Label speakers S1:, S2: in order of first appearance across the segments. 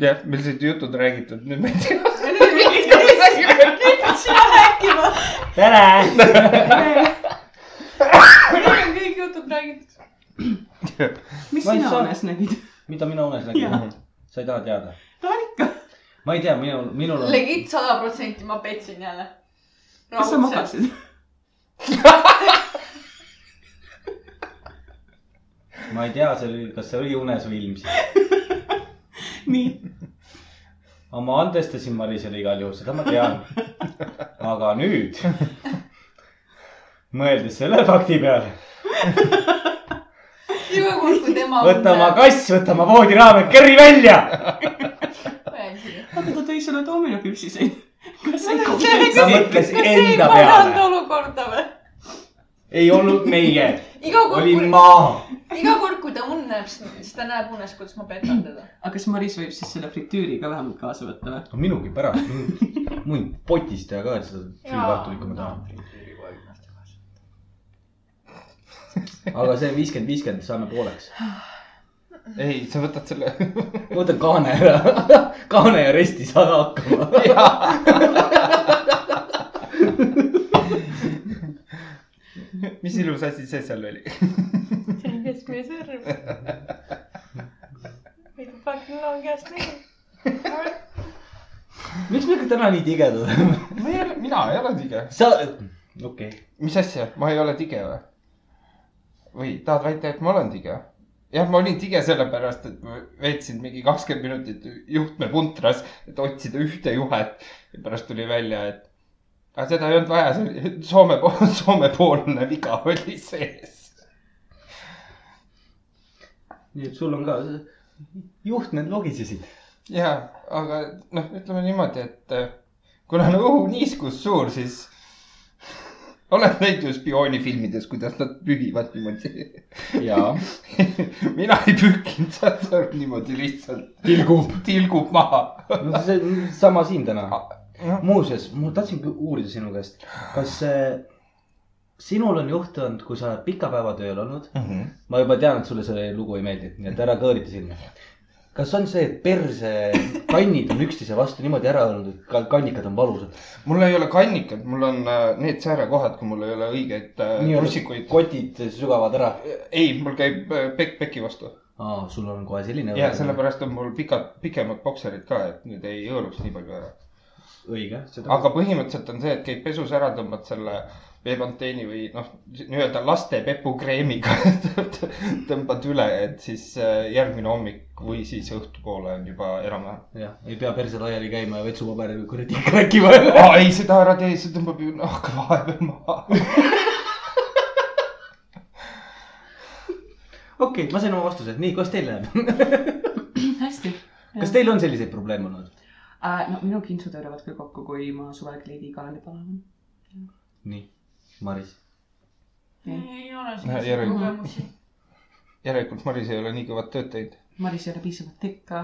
S1: jah , meil said jutud räägitud , nüüd me ei tea .
S2: sina rääkima .
S3: tere .
S2: meil on kõik jutud räägitud . mis
S3: Ma ei
S2: sina
S3: saa-
S2: unes nägid ?
S3: mida mina unes nägin
S2: Jaa. ?
S3: sa ei taha teada ?
S2: tahan ikka .
S3: ma ei tea , minul , minul on .
S4: legit sada protsenti ma petsin jälle .
S2: kas sa magasid ?
S3: ma ei tea , see oli , kas see oli unes või ilmselt .
S2: nii ,
S3: aga ma andestasin Marisele igal juhul , seda ma tean . aga nüüd , mõeldes selle fakti peale ,
S4: iga kord , kui tema .
S3: võta oma . kass , võta oma voodiraame , kerri välja .
S2: aga ta tõi sulle doominopüpsiseid . kas sa ei
S3: Ta
S2: kuulnud ?
S3: mõtles
S4: kas see ei
S3: enda
S4: paranda
S3: peale.
S4: olukorda või ?
S3: ei olnud meie ,
S4: iga kord ,
S3: olin
S4: kui ,
S3: ma .
S4: iga kord , kui ta und näeb , siis ta näeb unes , kuidas ma petan teda .
S2: aga kas Maris võib siis selle fritüüri ka vähemalt kaasa võtta või ?
S3: minugi pärast , mul potist teha ka seda süükartulikku ma tahan . aga see viiskümmend , viiskümmend saame pooleks .
S1: ei , sa võtad selle .
S3: võta kaane ära , kaane ja resti saad hakkama .
S1: mis ilus asi see seal oli ?
S4: see on keskmine sõrm . mida fucking long ass name .
S3: miks me ikka täna nii tigedad oleme ?
S1: ma ei ole , mina ei ole tige .
S3: sa , okei okay. ,
S1: mis asja , ma ei ole tige või ? või tahad väita , et ma olen tige ? jah , ma olin tige sellepärast , et ma veetsin mingi kakskümmend minutit juhtmepuntras , et otsida ühte juhet ja pärast tuli välja , et aga seda ei olnud vaja , see oli Soome , Soome-poolne viga oli sees .
S3: nii et sul on ka , juhtmed logisesid .
S1: ja , aga noh , ütleme niimoodi , et eh, kuna õhu niiskus suur , siis oled näinud ju spioonifilmides , kuidas nad pühivad niimoodi
S3: jaa .
S1: mina ei pühkinud , saad sa aru , niimoodi lihtsalt . tilgub . tilgub maha .
S3: no see sama siin täna .
S1: jah.
S3: muuseas , ma tahtsingi uurida sinu käest , kas äh, sinul on juhtunud , kui sa oled pika päeva tööl olnud ,
S1: Mhm.
S3: ma juba tean , et sulle see lugu ei meeldi , nii et ära kõõrita silmi . kas on see , et perse kannid on üksteise vastu niimoodi ära olnud , et ka- kannikad on valusad ?
S1: mul ei ole kannikat , mul on äh, need säärekohad , kui mul ei ole õigeid äh, trussikuid .
S3: kotid sügavad ära .
S1: ei , mul käib äh, pekk peki vastu
S3: aa , sul on kohe selline .
S1: ja sellepärast on mul pikad , pikemad bokserid ka , et need ei hõõruks nii palju ära .
S3: õige , seda .
S1: aga põhimõtteliselt on see , et käid pesus ära , tõmbad selle veepanteeni või noh , nii-öelda laste pepukreemiga tõmbad üle , et siis äh, järgmine hommik või siis õhtupoole on juba enam-vähem .
S3: jah , ei pea perse laiali käima ja vetsupaberi või kuradi kräkima .
S1: oh, . ei , seda ära tee , see tõmbab ju nahka vahepeal maha .
S3: okei okay, , ma sain oma vastuse , nii , kuidas teil läheb ?
S2: Mm, hästi .
S3: kas teil on selliseid probleeme olnud ?
S2: no minu kintsud hõõravad küll kokku , kui ma suvel kleidi kaela panen .
S3: nii , Maris .
S4: ei ole
S1: Näe,
S4: selliseid
S1: järelikult-
S4: kogemusi .
S1: järelikult Maris ei ole nii kõvat tööd teinud .
S2: Maris ei ole piisavalt tikk ka .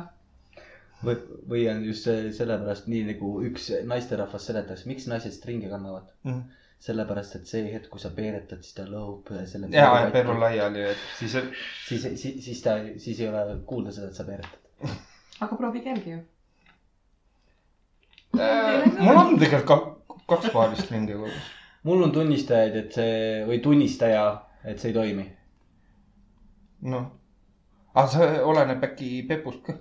S3: või , või on just see sellepärast nii nagu üks naisterahvas seletas , miks naised stringe kannavad
S1: Mhm.
S3: sellepärast , et see hetk , kui sa peeretad , siis ta lõhub eh, selle .
S1: ja , ja peru . laiali , et siis äh, on
S3: siis , siis , siis ta , siis ei ole kuulda seda , et sa peeretad .
S2: aga proovige järgi ju .
S1: äh, . mul on tegelikult ka, kaks paarist ringi kodus .
S3: mul on tunnistajaid , et see või tunnistaja , et see ei toimi .
S1: noh , aga see oleneb äkki pepust ka .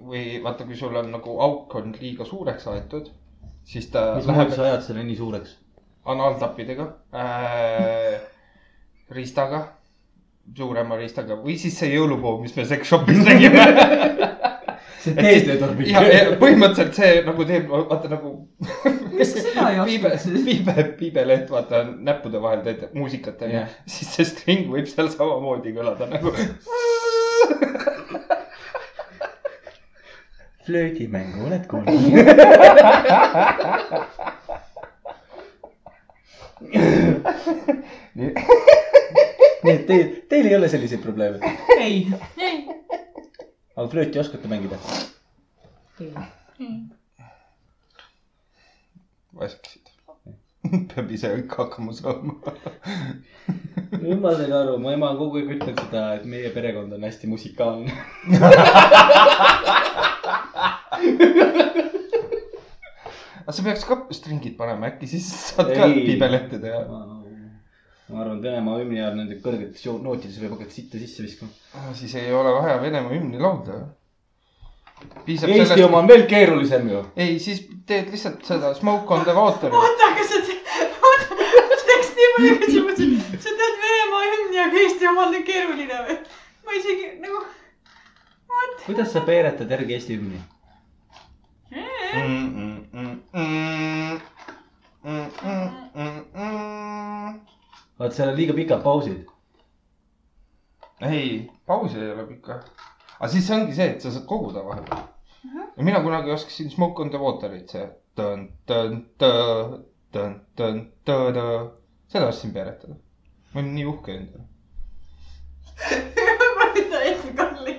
S1: või vaata , kui sul on nagu auk on liiga suureks aetud , siis ta
S3: mismoodi
S1: läheb
S3: sa ajad selle nii suureks ?
S1: anaaltappidega äh, , riistaga , suurema riistaga või siis see jõulupuu , mis me sex shop'is tegime .
S3: see
S1: Et siis-
S3: teetöötorbi
S1: ja , ja põhimõtteliselt see nagu teeb , vaata nagu
S2: kas sa seda ei
S1: piibe
S2: oska ?,
S1: piibe , piibeleht , vaata on näppude vahel teed muusikat onju
S3: Jah. ,
S1: siis see string võib seal samamoodi kõlada nagu .
S3: flöödimängu oled kuulnud ?
S1: Nii.
S3: nii et teil , teil ei ole selliseid probleeme ,
S2: ei .
S3: aga flööti oskate mängida ?
S1: vasksid . peab ise kõik hakkama saama .
S3: nüüd ma sain aru , mu ema kogu aeg ütleb seda , et meie perekond on hästi musikaalne .
S1: aga sa peaks ka stringid panema , äkki siis saad ka
S3: Ei.
S1: pibelette teha .
S3: ma arvan , Venemaa hümni ajal nende kõrgetes jo- nootides võib hakata sitta sisse viskama .
S1: Ah, siis ei ole vaja Venemaa hümni laulda . piisab
S3: Eesti sellest... oma
S1: sellest ,
S3: on veel keerulisem ju .
S1: ei , siis teed lihtsalt seda Smoke on the water'i .
S2: oota , aga sa , oota , ma teeks nii palju küsimusi . sa tead Venemaa hümni , aga Eesti omal on keeruline või ? ma isegi nagu , what ?
S3: kuidas sa peeretad järgi Eesti hümni ? Mm, mm, vaat seal on liiga pikad pausid .
S1: ei , pausi ei ole pikka . aga siis ongi see , et sa saad koguda vahepeal . ja mina kunagi oskasin Smoke on the water'it , see tõn, tõn, tõ, tõn, tõn, tõ, tõ. seda ostsin peeretada . ma olin nii uhke endale .
S4: ma ütlen ette , Karli ,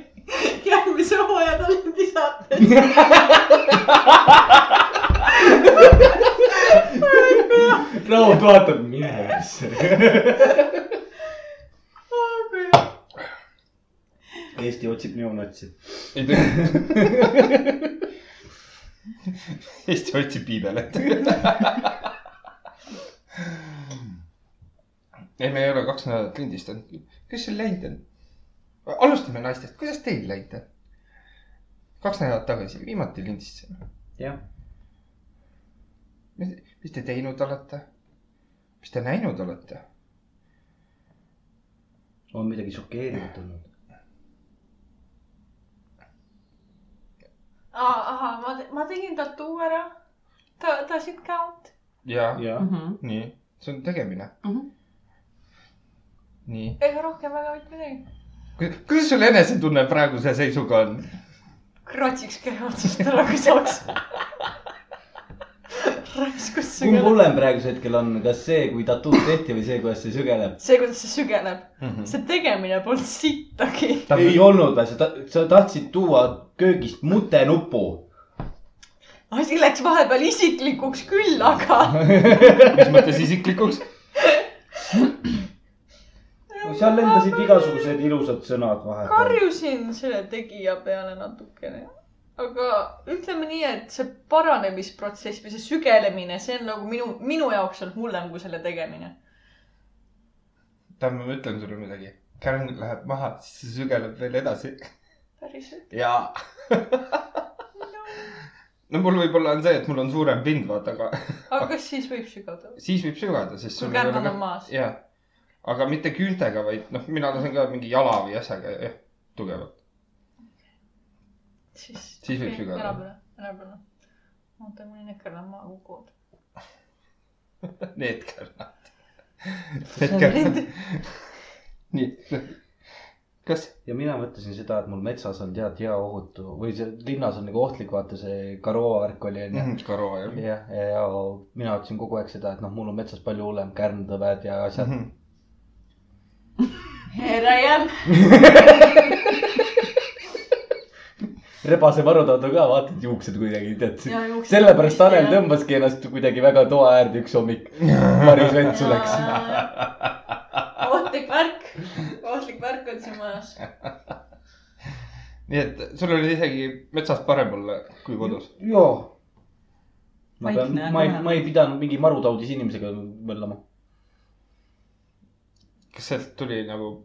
S4: järgmise hooaja talendi saate .
S3: Raul vaatab , mine persse . Eesti otsib neonatsi .
S1: ei tee . Eesti otsib piibelit . ei , me ei ole kaks nädalat lindistanud . kuidas sul läinud on ? alustame naistest , kuidas teil läinud on ? kaks nädalat tagasi , viimati lindistasime .
S3: jah ,
S1: mis , mis te teinud olete ? mis te näinud olete ?
S3: on midagi šokeerivat olnud .
S4: ahah , ma , ma tegin tattoo ära . ta , ta siit count .
S1: ja ,
S3: jah ,
S2: mhmh ,
S1: nii , see on tegemine .
S2: mhmh .
S1: nii ,
S4: ega rohkem väga mitte midagi .
S1: kuidas sul enesetunne praeguse seisuga on ?
S4: kratsiks käia otsast ära , kui saaks . raiskusse .
S3: kumb hullem praegusel hetkel on , kas see , kui tattoo tehti või see , kuidas see sügeleb ?
S4: see , kuidas see sügeleb ,
S1: Mhm.
S4: see tegemine polnud sittagi .
S3: ei olnud või , sa ta- , sa tahtsid tuua köögist mutenupu .
S4: asi läks vahepeal isiklikuks küll , aga
S1: mis mõttes isiklikuks ?
S3: seal lendasid igasugused ilusad sõnad
S1: Nagu-
S3: vahepeal .
S4: karjusin selle tegija peale natukene . aga ütleme nii , et see paranemisprotsess või see sügelemine , see on nagu minu , minu jaoks on hullem kui selle tegemine .
S1: tähendab , ma ütlen sulle midagi . kärang läheb maha , siis see sügeleb veel edasi .
S4: päriselt .
S1: jaa . no mul võib-olla on see , et mul on suurem pind , vaata , aga
S4: aga kas siis võib sügada ?
S1: siis võib sügada , sest
S4: kui
S1: sul ei ole
S4: kärnad
S1: ka
S4: on , maas .
S1: jaa . aga mitte küüntega , vaid noh , mina lasen ka mingi jala või asjaga , jah , tugevalt .
S4: siis
S1: Siis võib
S4: okei,
S1: sügada.
S4: ära pane , ära pane . oota , mul on ikka enam maa kukuvad .
S1: Need kärnad . Need kärnad . nii . kas ,
S3: ja mina mõtlesin seda , et mul metsas on tead hea ohutu või see linnas on nagu ohtlik , vaata see Karoa värk oli onju .
S1: Karo jah ?
S3: jah , ja, ja mina ütlesin kogu aeg seda , et noh , mul on metsas palju hullem kärntõved ja
S1: Mhm.
S3: asjad .
S4: ära jääb .
S3: rebasevarud on ka , vaatad juuksed kuidagi , tead .
S4: ja juuksed .
S3: sellepärast Tanel . tõmbaski ennast kuidagi väga toa äärde üks hommik . Maris Ventsu läks .
S4: ohtlik värk , ohtlik värk on siin majas .
S1: nii et sul oli isegi metsas parem olla kui kodus .
S3: joo . ma pean ,
S2: Vaikne on
S3: ma ei
S2: vähe. ,
S3: ma ei pidanud mingi marutaudis inimesega möllama .
S1: kas sealt tuli nagu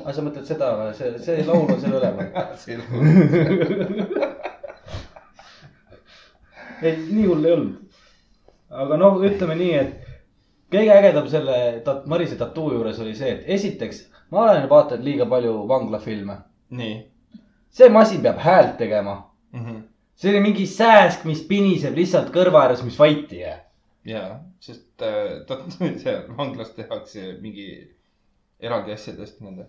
S3: aga sa mõtled seda , see , see laul on seal üleval .
S1: silm .
S3: ei , nii hull ei olnud . aga noh , ütleme nii , et kõige ägedam selle tat- , Marise tattoo juures oli see , et esiteks ma olen vaadanud liiga palju vanglafilme .
S1: nii
S3: see masin peab häält tegema .
S1: mm . -hmm.
S3: see oli mingi sääsk , mis piniseb lihtsalt kõrva ääres , mis vait ei jää .
S1: ja , sest äh, ta seal vanglas tehakse mingi eraldi asjadest nende .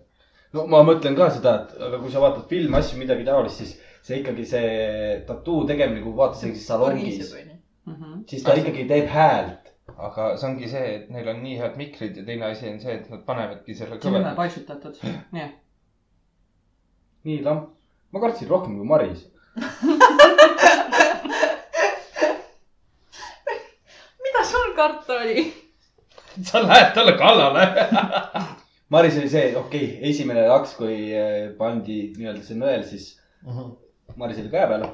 S3: no ma mõtlen ka seda , et aga kui sa vaatad filme , asju , midagi taolist , siis see ikkagi see tattoo tegemine , kui vaatad sellises salongis ,
S2: mhmh ,
S3: siis ta ikkagi teeb häält .
S1: aga see ongi see , et neil on nii head mikrid ja teine asi on see , et nad panevadki selle
S2: see on üle
S1: kõvema .
S2: paisutatud , jah .
S3: nii , lamp . ma kartsin rohkem kui Maris .
S4: mida sul karta oli ?
S1: sa lähed talle kallale .
S3: Maris oli see , okei okay, , esimene laks , kui äh, pandi nii-öelda see nõel , siis Marisele käe peale .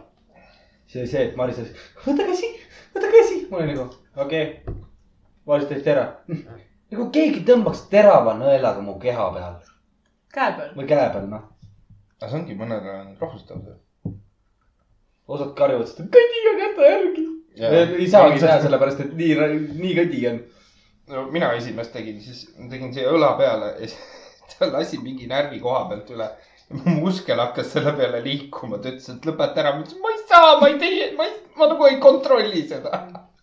S3: see oli see , et Maris ütles , võta käsi , võta käsi . ma olin nagu , okei okay. . Maris tehti ära . nagu keegi tõmbaks terava nõelaga mu keha peal
S4: käe peal .
S3: või käe peal , noh .
S1: aga see ongi mõnele on rohustav see .
S3: osad karjuvad seda , kõdiga kätte järgi . ei saagi teha , sellepärast et nii , nii kõdi on .
S1: no mina esimest tegin , siis ma tegin siia õla peale ja siis ta lasi mingi närvi koha pealt üle . mu muskel hakkas selle peale liikuma , ta ütles , et lõpeta ära , ma ütlesin , ma ei saa , ma ei tee , ma ei , ma nagu ei kontrolli seda .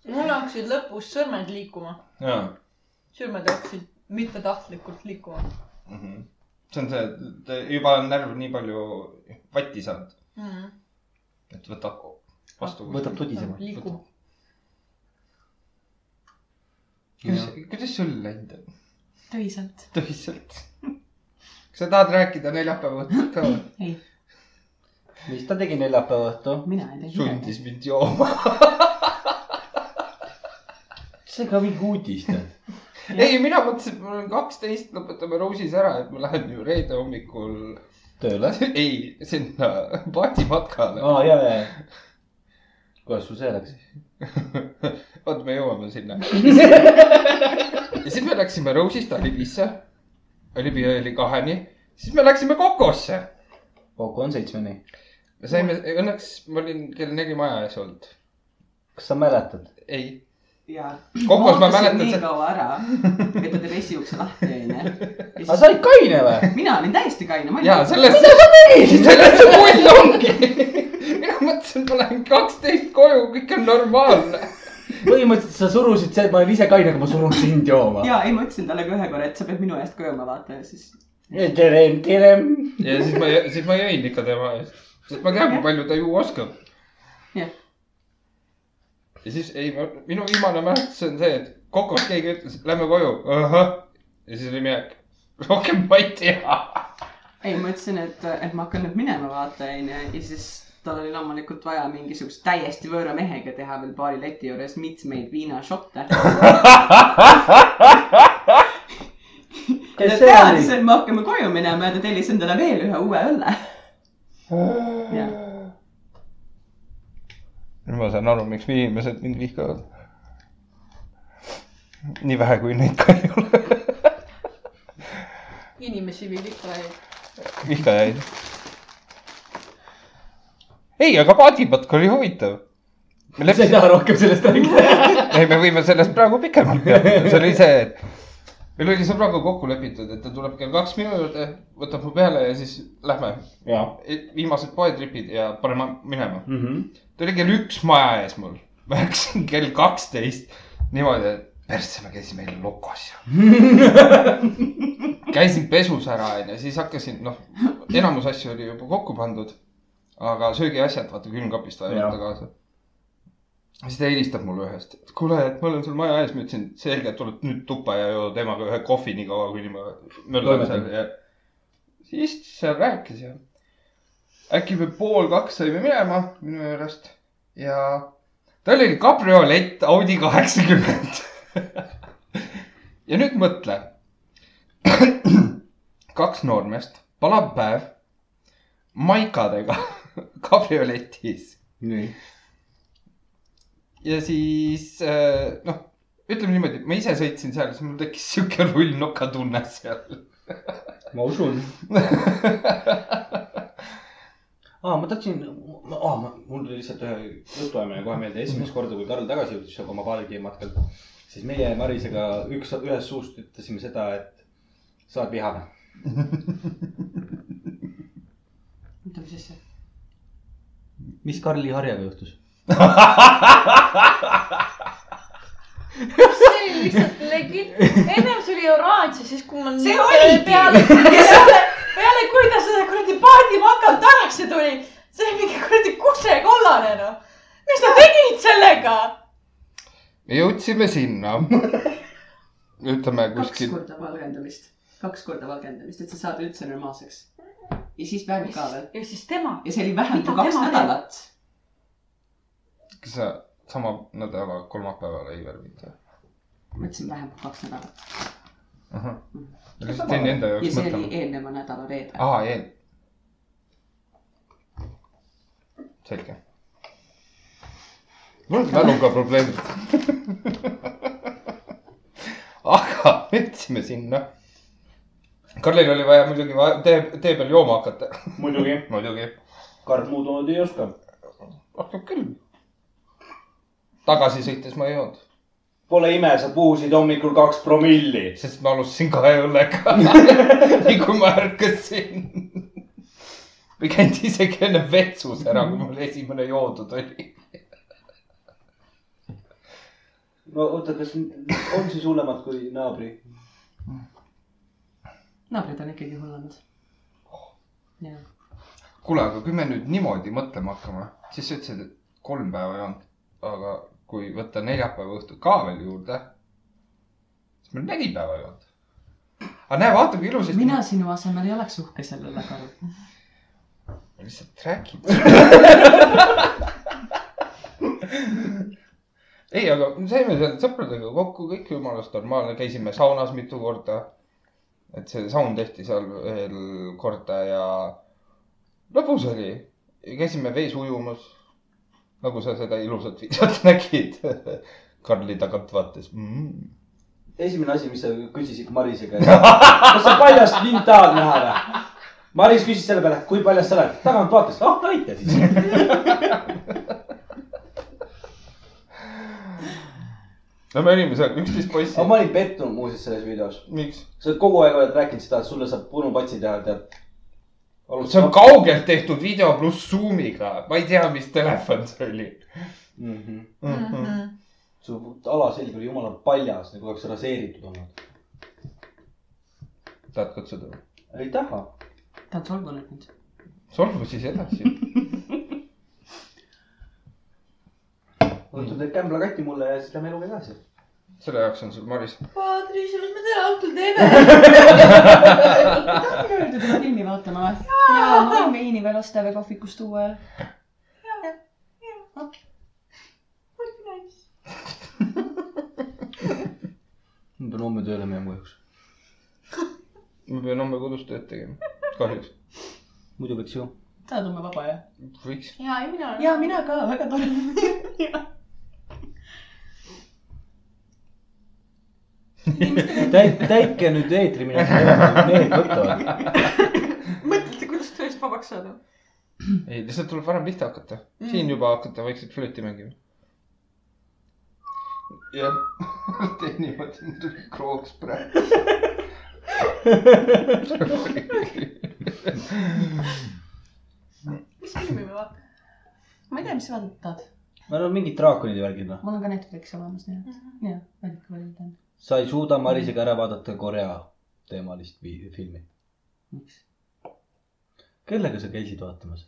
S4: mul hakkasid lõpus sõrmed liikuma ,
S1: jaa
S4: sõrmed hakkasid mittetahtlikult liikuma
S1: mm . -hmm. see on see , et juba on närv nii palju vatti saanud ,
S4: mm. .
S1: et võtab vastu .
S3: võtab tudisema .
S4: liikuma .
S1: kuidas , kuidas sul läinud on ?
S2: töiselt .
S1: tõsiselt . kas sa tahad rääkida neljapäeva õhtut ka või ?
S2: ei ,
S3: mis ta tegi neljapäeva õhtu ?
S2: mina ei teinud midagi .
S1: sundis mind jooma .
S3: see ka mingi uudis tead .
S1: ei , mina mõtlesin , et mul on kaksteist , lõpetame Roosis ära , et ma lähen ju reede hommikul ,
S3: tööle .
S1: ei , sinna paatimatkale .
S3: aa , ja , ja , ja . kuidas sul see läks ?
S1: oot , me jõuame sinna . ja siis me läksime Roosist Alibisse , Alibi oli kaheni , siis me läksime Kokosse .
S3: kokku on seitsmeni .
S1: me saime , õnneks ma olin kell neli maja ees olnud .
S3: kas sa mäletad ?
S1: ei ,
S2: jaa .
S1: Kokos ma mäletan
S2: nii
S1: seda-
S2: kaua ära , et ta teeb esiukse lahti , onju
S3: aga . sa olid kaine või ?
S2: mina olin täiesti kaine , ma
S1: ja
S2: olin .
S1: sellest , sellest see pull ongi . mina mõtlesin , et ma lähen kaksteist koju , kõik on normaalne .
S3: põhimõtteliselt sa surusid see , et ma olen ise kaine , aga ma surun sind jooma .
S2: ja ei , ma ütlesin talle ka ühe korra , et sa pead minu eest kööma vaata ja siis .
S3: tere , tere .
S1: ja siis ma , siis ma jõin ikka tema eest , sest ma tean , kui palju ta ju oskab .
S2: jah ,
S1: ja siis ei , minu viimane mälestus on see , et kokos keegi ütles , lähme koju , ahah . ja siis oli minek , rohkem ma ei tea .
S2: ei , ma ütlesin , et , et ma hakkan nüüd minema vaata , onju ja siis tal oli loomulikult vaja mingisugust täiesti võõra mehega teha veel paari leti juures mitmeid viinašotte .
S3: kes
S2: ta
S3: see oli ?
S2: teadis , et me hakkame koju minema ja ta tellis endale veel ühe uue õlle . Jah.
S1: nüüd ma saan aru , miks inimesed mind vihkavad . nii vähe , kui neid ka ei ole .
S4: inimesi viib ikka läbi .
S1: vihkajaid . ei , aga paadipatk oli huvitav . me
S3: sa ei
S1: leppisime ,
S3: taha rohkem sellest rääkida ?
S1: ei , me võime sellest praegu pikemalt peatuda , see oli see , et meil oli sõbraga kokku lepitud , et ta tuleb kell kaks minu juurde , võtab mu peale ja siis lähme .
S3: jaa .
S1: viimased poetripid ja paneme minema .
S3: mhmh .
S1: ta oli kell üks maja ees mul , ma läksin kell kaksteist niimoodi , et persse , me käisime eile lokos ju . käisin pesus ära onju , siis hakkasin noh , enamus asju oli juba kokku pandud . aga söögiasjad , vaata külmkapist vaja
S3: Jaa.
S1: võtta kaasa . siis ta helistab mulle ühest , et kuule , et ma olen sul maja ees , ma ütlesin , selge , tuled nüüd tuppa ja joo temaga ühe kohvi nii kaua , kuni ma möllan seal ja . siis istus seal rääkis ja äkki me pool kaks saime minema minu juurest ja tal oli kabriolett Audi kaheksakümmend . ja nüüd mõtle . kaks noormeest , palapäev , maikadega kabrioletis
S3: nii .
S1: ja siis äh, noh , ütleme niimoodi , ma ise sõitsin seal , siis mul tekkis sihuke rullnoka tunne seal .
S3: ma usun . aa , ma tahtsin , aa , mul tuli lihtsalt ühe jutuajamine kohe meelde , esimest korda , kui Karl tagasi jõudis oma Valgi matkalt , siis meie Marisega üks , ühest suust ütlesime seda , et sa oled vihane .
S2: oota , mis asja ?
S3: mis Karli harjaga juhtus ?
S4: see oli lihtsalt legit , ennem see oli oranž ja siis , kui ma .
S2: See oligi!
S4: peale , peale , peale , kui ta seda kuradi paadimakalt tagasi tuli , see oli mingi kuradi kusekollane noh . mis sa tegid sellega ?
S1: me jõudsime sinna . ütleme
S2: kaks
S1: kuskil ,
S2: korda valgendamist , kaks korda valgendamist , et sa saad üldse normaalseks . ja siis värv ka veel .
S4: ja siis tema .
S2: ja see oli vähem
S4: Mida
S2: kui kaks
S4: tema teeb?
S2: nädalat .
S1: kas sa sama nädala kolmapäeval ei värvita ?
S2: ma ütlesin vähem kui kaks nädalat
S1: ma lihtsalt jäin enda
S2: ja Ah.
S1: jaoks
S2: see oli
S1: mõtlema .
S2: eelneva nädala reede .
S1: aa , ei , selge . mul on mäluga probleemid . aga jõudsime sinna . Karlil oli vaja muidugi va- tee , tee peal jooma hakata .
S5: muidugi ,
S1: muidugi ,
S5: Karl muud moodi ei oska .
S1: hakkab küll . tagasi sõites ma ei joonud ,
S5: Pole ime , sa puhusid hommikul kaks promilli .
S1: sest ma alustasin kahe õllega . nii kui ma ärkasin . või käinud isegi enne vetsus ära , kui mul esimene joodud oli .
S5: no oota , kas on siis hullemad kui naabri ?
S2: naabrid on ikkagi hullemad . jaa .
S1: kuule , aga kui me nüüd niimoodi mõtlema hakkame , siis sa ütlesid , et kolm päeva ei olnud , aga kui võtta neljapäeva õhtu ka veel juurde , siis meil neli päeva ei olnud . aga näe , vaata kui ilusasti
S2: mina sinu asemel ei oleks uhke selle üle , Karl .
S1: ma lihtsalt räägin . ei , aga me saime seal sõpradega kokku , kõik jumalast normaalne , käisime saunas mitu korda . et see saun tehti seal veel korda ja lõbus oli . käisime vees ujumas . nagu sa seda ilusat videot nägid Karli tagant vaates mm. .
S5: esimene asi , mis sa küsisid Marise käest . kas sa paljast mind tahad näha või ? Maris küsis selle peale , kui paljas sa oled . tagant vaatas , ah no aitäh siis .
S1: no me olime seal üksteist poissi
S5: aga . ma olin pettunud muuseas selles videos .
S1: miks ?
S5: sa oled kogu aeg oled rääkinud seda , et sulle saab punupatsi teha , tead .
S1: see on kaugelt tehtud video pluss Zoomiga , ma ei tea , mis telefon see oli
S5: mm . -hmm.
S1: mm .
S4: Mhm.
S1: -hmm.
S5: su alaselg oli jumala paljas , nagu oleks raseeritud olnud .
S1: tahad katsuda ?
S5: ei taha .
S2: ta on solvunud mind .
S1: solvu siis edasi .
S5: võtad need kämblakatti mulle ja siis lähme eluga edasi .
S1: selle jaoks on sul Maris .
S4: Patriis , mis me täna õhtul teeme ?
S2: tahtsin öelda , et ma filmi vaatama või ?
S6: jaa , ma võin veini veel osta või kohvikust tuua .
S3: ma pean homme tööle minema kahjuks .
S1: ma pean homme kodus tööd tegema , kahjuks .
S3: muidu võiks ju .
S2: sa oled homme vaba jah ?
S1: võiks .
S4: ja , ei mina .
S2: jaa , mina ka , väga tore .
S3: täit- , täitke nüüd eetri , mida mehed võtavad .
S4: mõtlete , kuidas tööst vabaks saada ?
S1: ei , lihtsalt tuleb varem pihta hakata . siin juba hakata vaikselt flööti mängima . jah , tee niimoodi , mul tuli krooks praegu .
S4: mis filmi me vaatame ?
S2: ma ei tea , mis sa vaadata tahad .
S3: ma olen mingid draakonid ja värgid noh .
S6: mul on ka Netflix olemas , nii
S4: Mhm.
S6: et jah , valik valida on .
S3: sa ei suuda Marisega ära vaadata Korea teemalist vi- filmi .
S2: miks ?
S3: kellega sa käisid vaatamas ?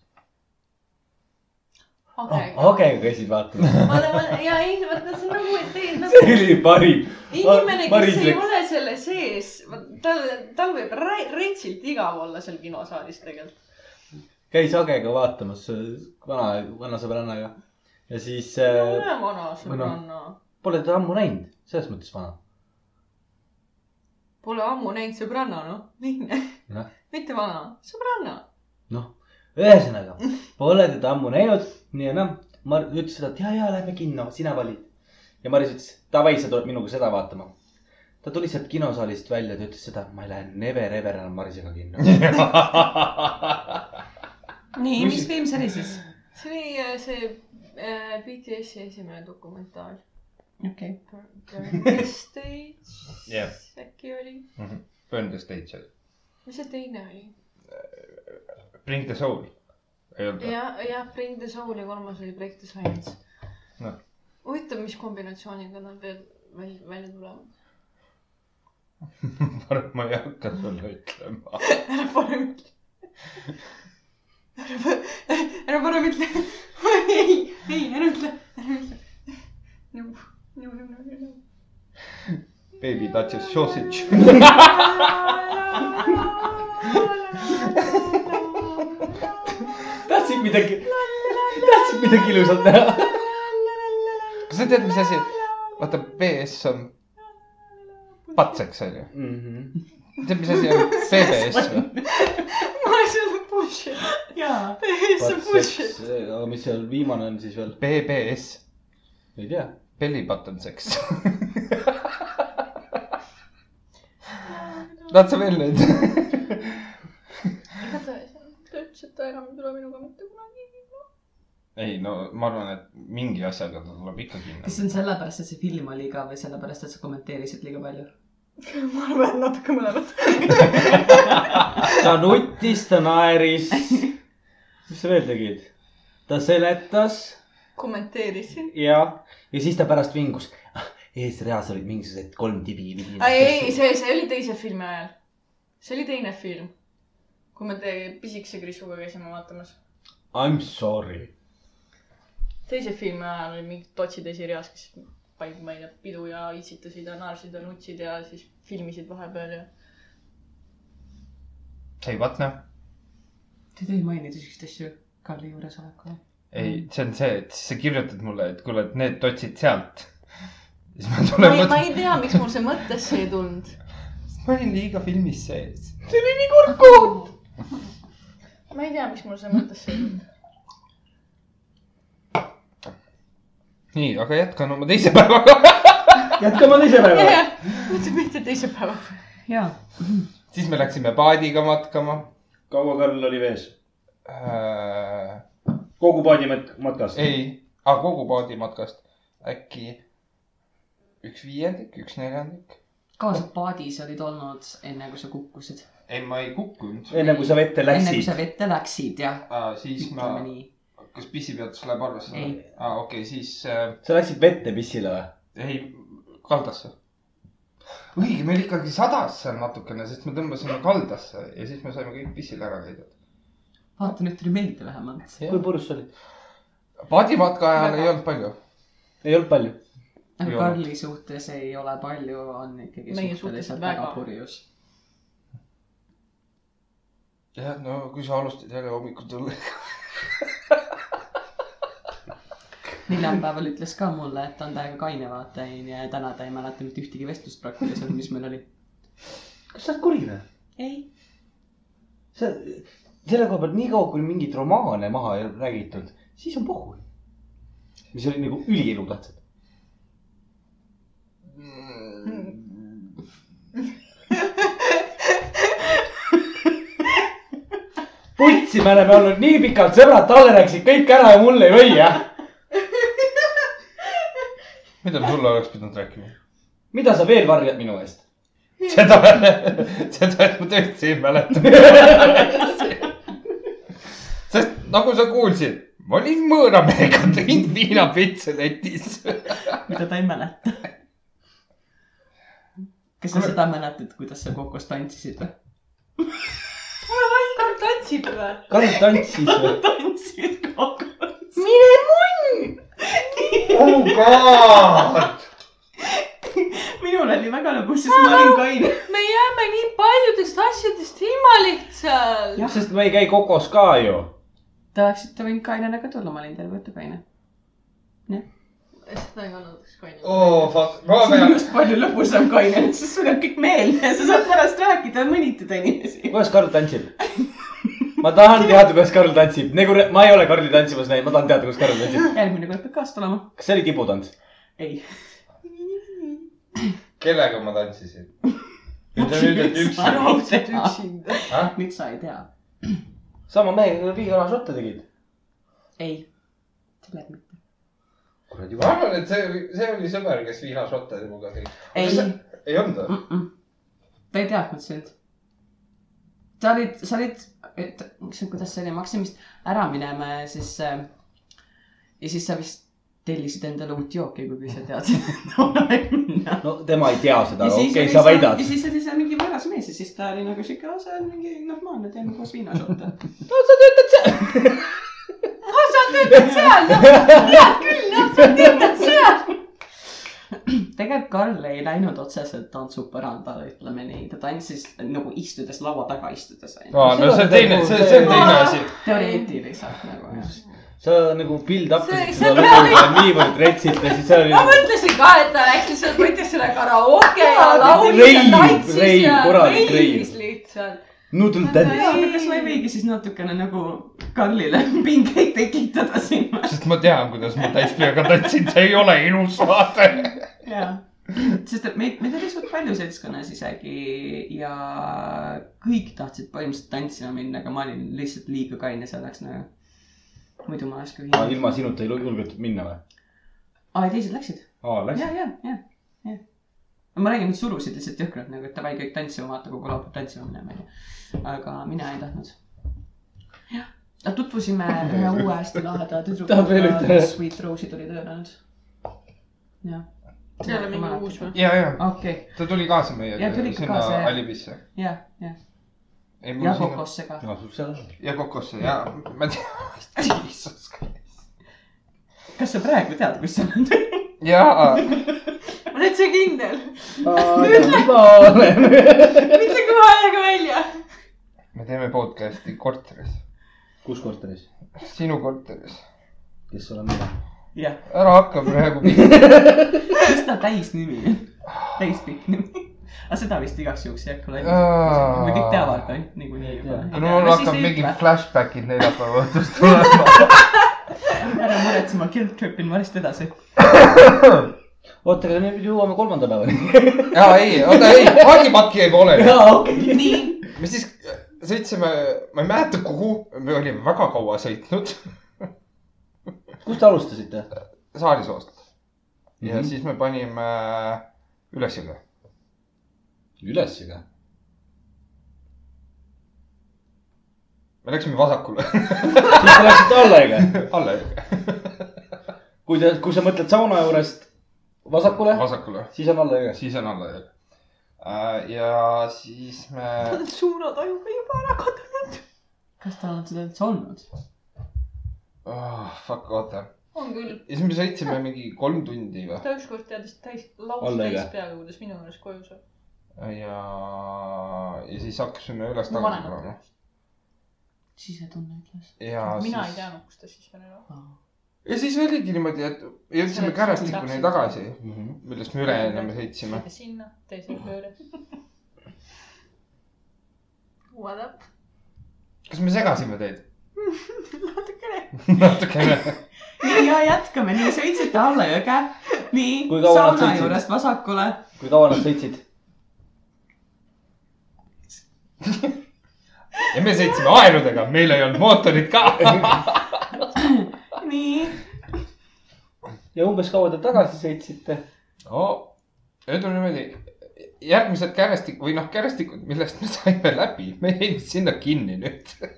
S4: okei .
S3: Agega käisid vaatamas .
S4: ma olen , ja ei , vaata see on nagu , et ei , noh .
S3: see oli parim .
S4: inimene , kes
S3: Maris
S4: ei
S3: läks-
S4: ole selle sees , tal , tal võib rä- retsilt igav olla seal kinosaalis tegelikult .
S3: käis Agega vaatamas äh, vana , vanasõbrannaga . ja siis äh,
S4: ole vana sõbranna .
S3: pole teda ammu näinud , selles mõttes vana .
S4: Pole ammu näinud sõbranna , noh , lihtne
S3: Jah. .
S4: mitte vana , sõbranna .
S3: noh , ühesõnaga pole teda ammu näinud , nii ja naa . Mar- ütles seda , et ja , ja lähme kinno , sina valid . ja Maris ütles , davai , sa tuled minuga seda vaatama . ta tuli sealt kinosaalist välja , ta ütles seda , ma ei lähe never ever enam Marisega kinno .
S2: nii , mis film see oli siis ?
S4: see oli äh, see äh, BTS-i esimene dokumentaal .
S2: okei .
S4: Stage
S1: Jah.
S4: äkki oli .
S1: Burn the stage .
S4: mis see teine oli ?
S1: Bring the soul . ei olnud või ?
S4: ja , ja Bring the Soul ja kolmas oli Break the Silence
S1: Noh. .
S4: huvitav , mis kombinatsiooniga nad veel välja , välja tulevad .
S1: ma arvan , ma ei hakka sulle ütlema .
S4: ära parem ütle . ära pa- , ära parem ütle . ei , ei , ära ütle , ära ütle . no , no , no , no , no .
S1: Baby that's a sausage .
S3: tahtsid midagi , tahtsid midagi ilusat teha .
S1: kas sa tead , mis asi , vaata BS on patseks onju .
S3: Mhm.
S1: tead , mis asi on BBS või ?
S4: ma olen selle bullshit .
S2: jaa .
S4: see on bullshit .
S3: aga mis seal viimane on siis veel ?
S1: BBS ,
S3: ei tea .
S1: belly button sex . tahad sa veel neid ?
S4: igatahes ta ütles , et ta enam ei tule minuga mitte kunagi .
S1: ei no ma arvan , et mingi asjaga ta tuleb ikka kinni .
S2: kas see on sellepärast , et see film oli igav või sellepärast , et sa kommenteerisid liiga palju ?
S4: ma arvan , et natuke mõlemat .
S3: ta nuttis , ta naeris . mis sa veel tegid ? ta seletas
S4: kommenteerisin .
S3: ja , ja siis ta pärast vingus . eesreas olid mingisugused kolm tibi .
S4: ei , ei , see , see oli teise filmi ajal . see oli teine film , kui me te- pisikese Krisuga käisime vaatamas .
S3: I m sorry .
S4: teise filmi ajal oli mingid totsid esireas , kes panid , ma ei tea , pidu ja itsitasid ja naersid ja nutsid ja siis filmisid vahepeal ja .
S1: ei , vaat noh ,
S2: Te ei tohi mainida siukseid asju Karli juuresolekul .
S1: ei , see on see , et siis sa kirjutad mulle , et kuule , et need totsid sealt . siis ma
S4: ma
S1: tulen
S4: ei , ma
S1: mõtlen ,
S4: ei tea , miks mul see mõttesse ei tulnud .
S1: ma olin liiga filmis sees .
S4: ma ei tea , miks mul see mõttesse ei tulnud .
S1: nii , aga jätkan oma teise päevaga .
S5: jätkame teise päevaga .
S4: mõtlesin mitte teise päeva .
S2: jaa .
S1: siis me läksime paadiga matkama
S5: kaua Karl oli vees ?
S1: äh, .
S5: kogu paadi mat- matkast ?
S1: ei , aga kogu paadimatkast äkki üks viiendik , üks neljandik .
S2: kaua sa paadis olid olnud , enne kui sa kukkusid ?
S1: ei , ma ei kukkunud
S5: enne kui sa vette
S2: enne kui sa
S5: läksid .
S2: vette läksid , jah .
S1: äh, . siis ma ,
S2: ütleme nii .
S1: kas pissipeatus läheb arvesse
S2: Ei. ?
S1: aa , okei , siis äh,
S5: sa läksid vette pissile või ?
S1: ei , kaldasse . õige , meil ikkagi sadas seal natukene , sest me tõmbasime kaldasse ja siis me saime kõik pissil ära käidud .
S2: vaata , nüüd tuli meelde vähemalt .
S3: kui purjus sa olid ?
S1: paadimatka ajal ei olnud palju .
S5: ei olnud palju .
S1: Ei
S2: aga
S1: olnud.
S2: Nagu Karli suhtes ei ole palju , on ikkagi
S4: Meie
S2: suhteliselt
S4: suhtes
S2: väga
S4: väga.
S2: purjus .
S1: jah , no kui sa alustad jälle hommikul tulla .
S2: neljapäeval ütles ka mulle , et on täiega kaine vaata , onju , ja täna ta ei mäleta mitte ühtegi vestlust praktiliselt , mis meil oli .
S3: kas sa oled kuri või ?
S2: ei .
S3: sa , selle koha pealt niikaua , kui mingit romaane maha ei räägitud , siis on puhul . mis olid nagu ülielutähtsad .
S5: putsi me oleme olnud nii pikalt sõbrad , talle rääkisid kõik ära ja mulle ei või jah .
S1: mida ma sulle oleks pidanud rääkima ?
S5: mida sa veel varjad minu eest ?
S1: seda , seda , et ma tõesti ei mäleta . sest nagu sa kuulsid , ma olin mõõra mehega , tõin viinapitsa letis .
S2: mida ta ei mäleta . kas sa
S1: Kuule-
S2: seda mäletad , kuidas sa kokos tantsisid või ?
S4: Karl tantsib või ?
S5: Karl tantsis või ?
S2: tantsid kokos .
S4: mine munn .
S1: oh god ,
S2: minul oli väga lõbus , sest ma olin kaine .
S4: me jääme nii paljudest asjadest ilma lihtsalt .
S2: Jah.
S5: sest me ei käi kokos ka ju .
S2: Te oleksite võinud kainena ka tulla , ma olin terve õhtu kaine .
S4: seda ei olnud üks kaine .
S1: oh fuck , koha
S2: see on
S1: peal .
S2: just palju lõbusam kaine , sest sul on kõik meelde ja sa saad pärast rääkida ja mõnitada inimesi .
S5: kuidas Karl tantsib ? ma tahan teada , kuidas Karl tantsib , nagu re- ma ei ole Karli tantsimas näinud , ma tahan teada , kuidas Karl tantsib .
S2: järgmine kord peab kaasa tulema .
S5: kas see oli tibutants ?
S2: ei .
S1: kellega ma tantsisin ? nüüd on nüüd , et üks .
S4: üksinda .
S2: nüüd sa ei tea .
S5: sama mehega , kellega viigala šotte tegid .
S2: ei . tuleb mitte .
S5: kuradi
S1: ma . arvan , et see oli , see oli sõber , kes viinašotte minuga tõi .
S2: ei .
S1: ei olnud või ?
S2: ta ei teadnud sind . sa olid , sa olid , et ükskord , kuidas see oli , me hakkasime vist ära minema ja siis äh, . ja siis sa vist tellisid endale uut jooki , kuigi sa teadsid , et on aeg minna .
S5: no tema ei tea seda ,
S2: ja
S5: aga
S2: siis
S5: okei ,
S2: oli
S5: sa
S2: seal-
S5: väidad
S2: ja . siis oli seal mingi võõras mees ja siis ta oli nagu siuke , see on mingi normaalne , nagu teeme koos viina šotte .
S4: ah , sa töötad seal , noh , head küll , noh , sa töötad seal .
S2: tegelikult Karl ei läinud otseselt tantsupõrandale , ütleme nii , ta tantsis nagu istudes , laua taga istudes onju .
S1: aa , no see on teine , see , see on teine asi .
S2: teoreetiliselt nagu jah .
S3: sa nagu build up
S4: See-
S3: isid
S4: see
S3: seda
S4: on
S3: lugu ja niivõrd retsitasid , see oli
S4: ma
S3: nagu
S4: mõtlesin ka , et ta läks lihtsalt , võttis selle karaoke ja laulis ja
S5: Rave,
S4: tantsis
S5: rave,
S4: ja
S5: korralik
S4: reivis
S5: rave.
S4: lihtsalt .
S3: Noodle Daddy .
S2: kas ma ei võigi siis natukene nagu Karlile pingeid tekitada siin või ?
S1: sest ma tean , kuidas ma täiskliaga tantsin , see ei ole ilus vaade .
S2: jaa , sest et meid , meid oli suht palju seltskonnas isegi ja kõik tahtsid põhimõtteliselt tantsima minna , aga ma olin lihtsalt liiga kaine selleks nagu . muidu ma oleks ka
S3: aa ,
S2: viinud .
S3: ilma sinuta ei julgetud minna või ?
S2: aa , ja teised läksid ?
S3: aa ,
S2: ja ,
S3: läksid .
S2: ja , ja , ja . ma räägin , nad surusid lihtsalt jõhkralt nagu , et davai kõik tantsima , vaata kogu laul peab tantsima minema , onju . aga mina ei tahtnud . jah , tutvusime
S6: ühe uue hästi laheda
S5: Tahab veel
S6: tüdrukuga ,
S5: ühte?
S6: kes Sweet Rose'i tuli tööle nüüd .
S2: jah .
S4: see ei ole mingi uus või ?
S1: ja , ja
S2: okei okay. ,
S1: ta tuli kaasa meiega
S2: Jah, tuli ikka
S1: sinna
S2: kaasa, jah.
S1: Alibisse .
S2: jah , jah . ja . Kokosse ka .
S3: aa , sul seal on .
S1: ja Kokosse ja ma tean , Jesus .
S2: kas sa praegu tead , kus sa oled ?
S1: ja ,
S4: on täitsa kindel .
S5: ma olen .
S4: ütle kohe aega välja .
S1: me teeme podcast'i korteris ,
S3: kus korteris ?
S1: sinu korteris .
S3: kes olen mina ?
S2: jah ,
S1: ära hakka praegu .
S2: mis ta täisnimi on ? täispikk nimi . aga seda vist igaks juhuks ei hakka
S1: Aa.
S2: laiali . me kõik teavad ainult niikuinii juba .
S1: no mul hakkab mingi . flashback'id neljapäeva õhtust tulema .
S2: ära muretse , ma guilt trip in varsti edasi .
S3: oota , aga nüüd jõuame kolmanda päevani .
S1: ja ei , oota ei , paadipakki ei ole .
S3: aa , okei .
S2: nii ,
S1: me siis äh, sõitsime , ma ei mäleta kuhu , me olime väga kaua sõitnud
S3: kust te alustasite ?
S1: Saarisoost ja mm
S3: Mhm.
S1: -hmm. siis me panime äh, ülesjõge .
S3: ülesega .
S1: me läksime vasakule ,
S3: siis te läksite alla ega ?
S1: alla jõge ,
S3: kui te , kui sa mõtled sauna juurest vasakule ,
S1: vasakule ,
S3: siis on alla ega .
S1: siis on alla jõge . ja siis me
S4: Nad suunad ajuga juba ära kadunud .
S2: kas tal on seda üldse olnud ?
S1: oh, , fuck , oota .
S4: on küll .
S1: ja siis me sõitsime mingi kolm tundi või
S4: ta ükskord teadis täis , laus
S3: Alla
S4: täis
S3: ega.
S4: peaga , kuidas minu meelest koju saab .
S1: ja , ja siis hakkasime üles
S4: mu
S1: tagasi
S4: vanemad
S1: tulema .
S4: teavad .
S6: sisetunne ütles .
S1: ja
S4: mina ei
S1: siis ,
S4: teadnud , kus ta siis on enam .
S1: ja siis oligi niimoodi , et jõudsime
S4: Selleks
S1: Kärastikuni
S4: täpselt.
S1: tagasi ,
S3: Mhm.
S1: millest me üle ennem sõitsime .
S4: sinna , teise pööre . What up ?
S1: kas me segasime teid ?
S4: natukene .
S1: natukene .
S2: nii , ja jätkame , nii sõitsite alla jõge . nii ,
S3: Kui kaua nad
S2: sauna
S3: sõitsid?
S2: juurest vasakule .
S3: kui kaua nad sõitsid ?
S1: ja me sõitsime aenudega , meil ei olnud mootorit ka .
S2: nii ,
S3: ja umbes kaua te tagasi sõitsite ?
S1: no ütleme niimoodi , järgmised kärestik- või noh , kärestikud , millest me saime läbi , me jäime sinna kinni nüüd .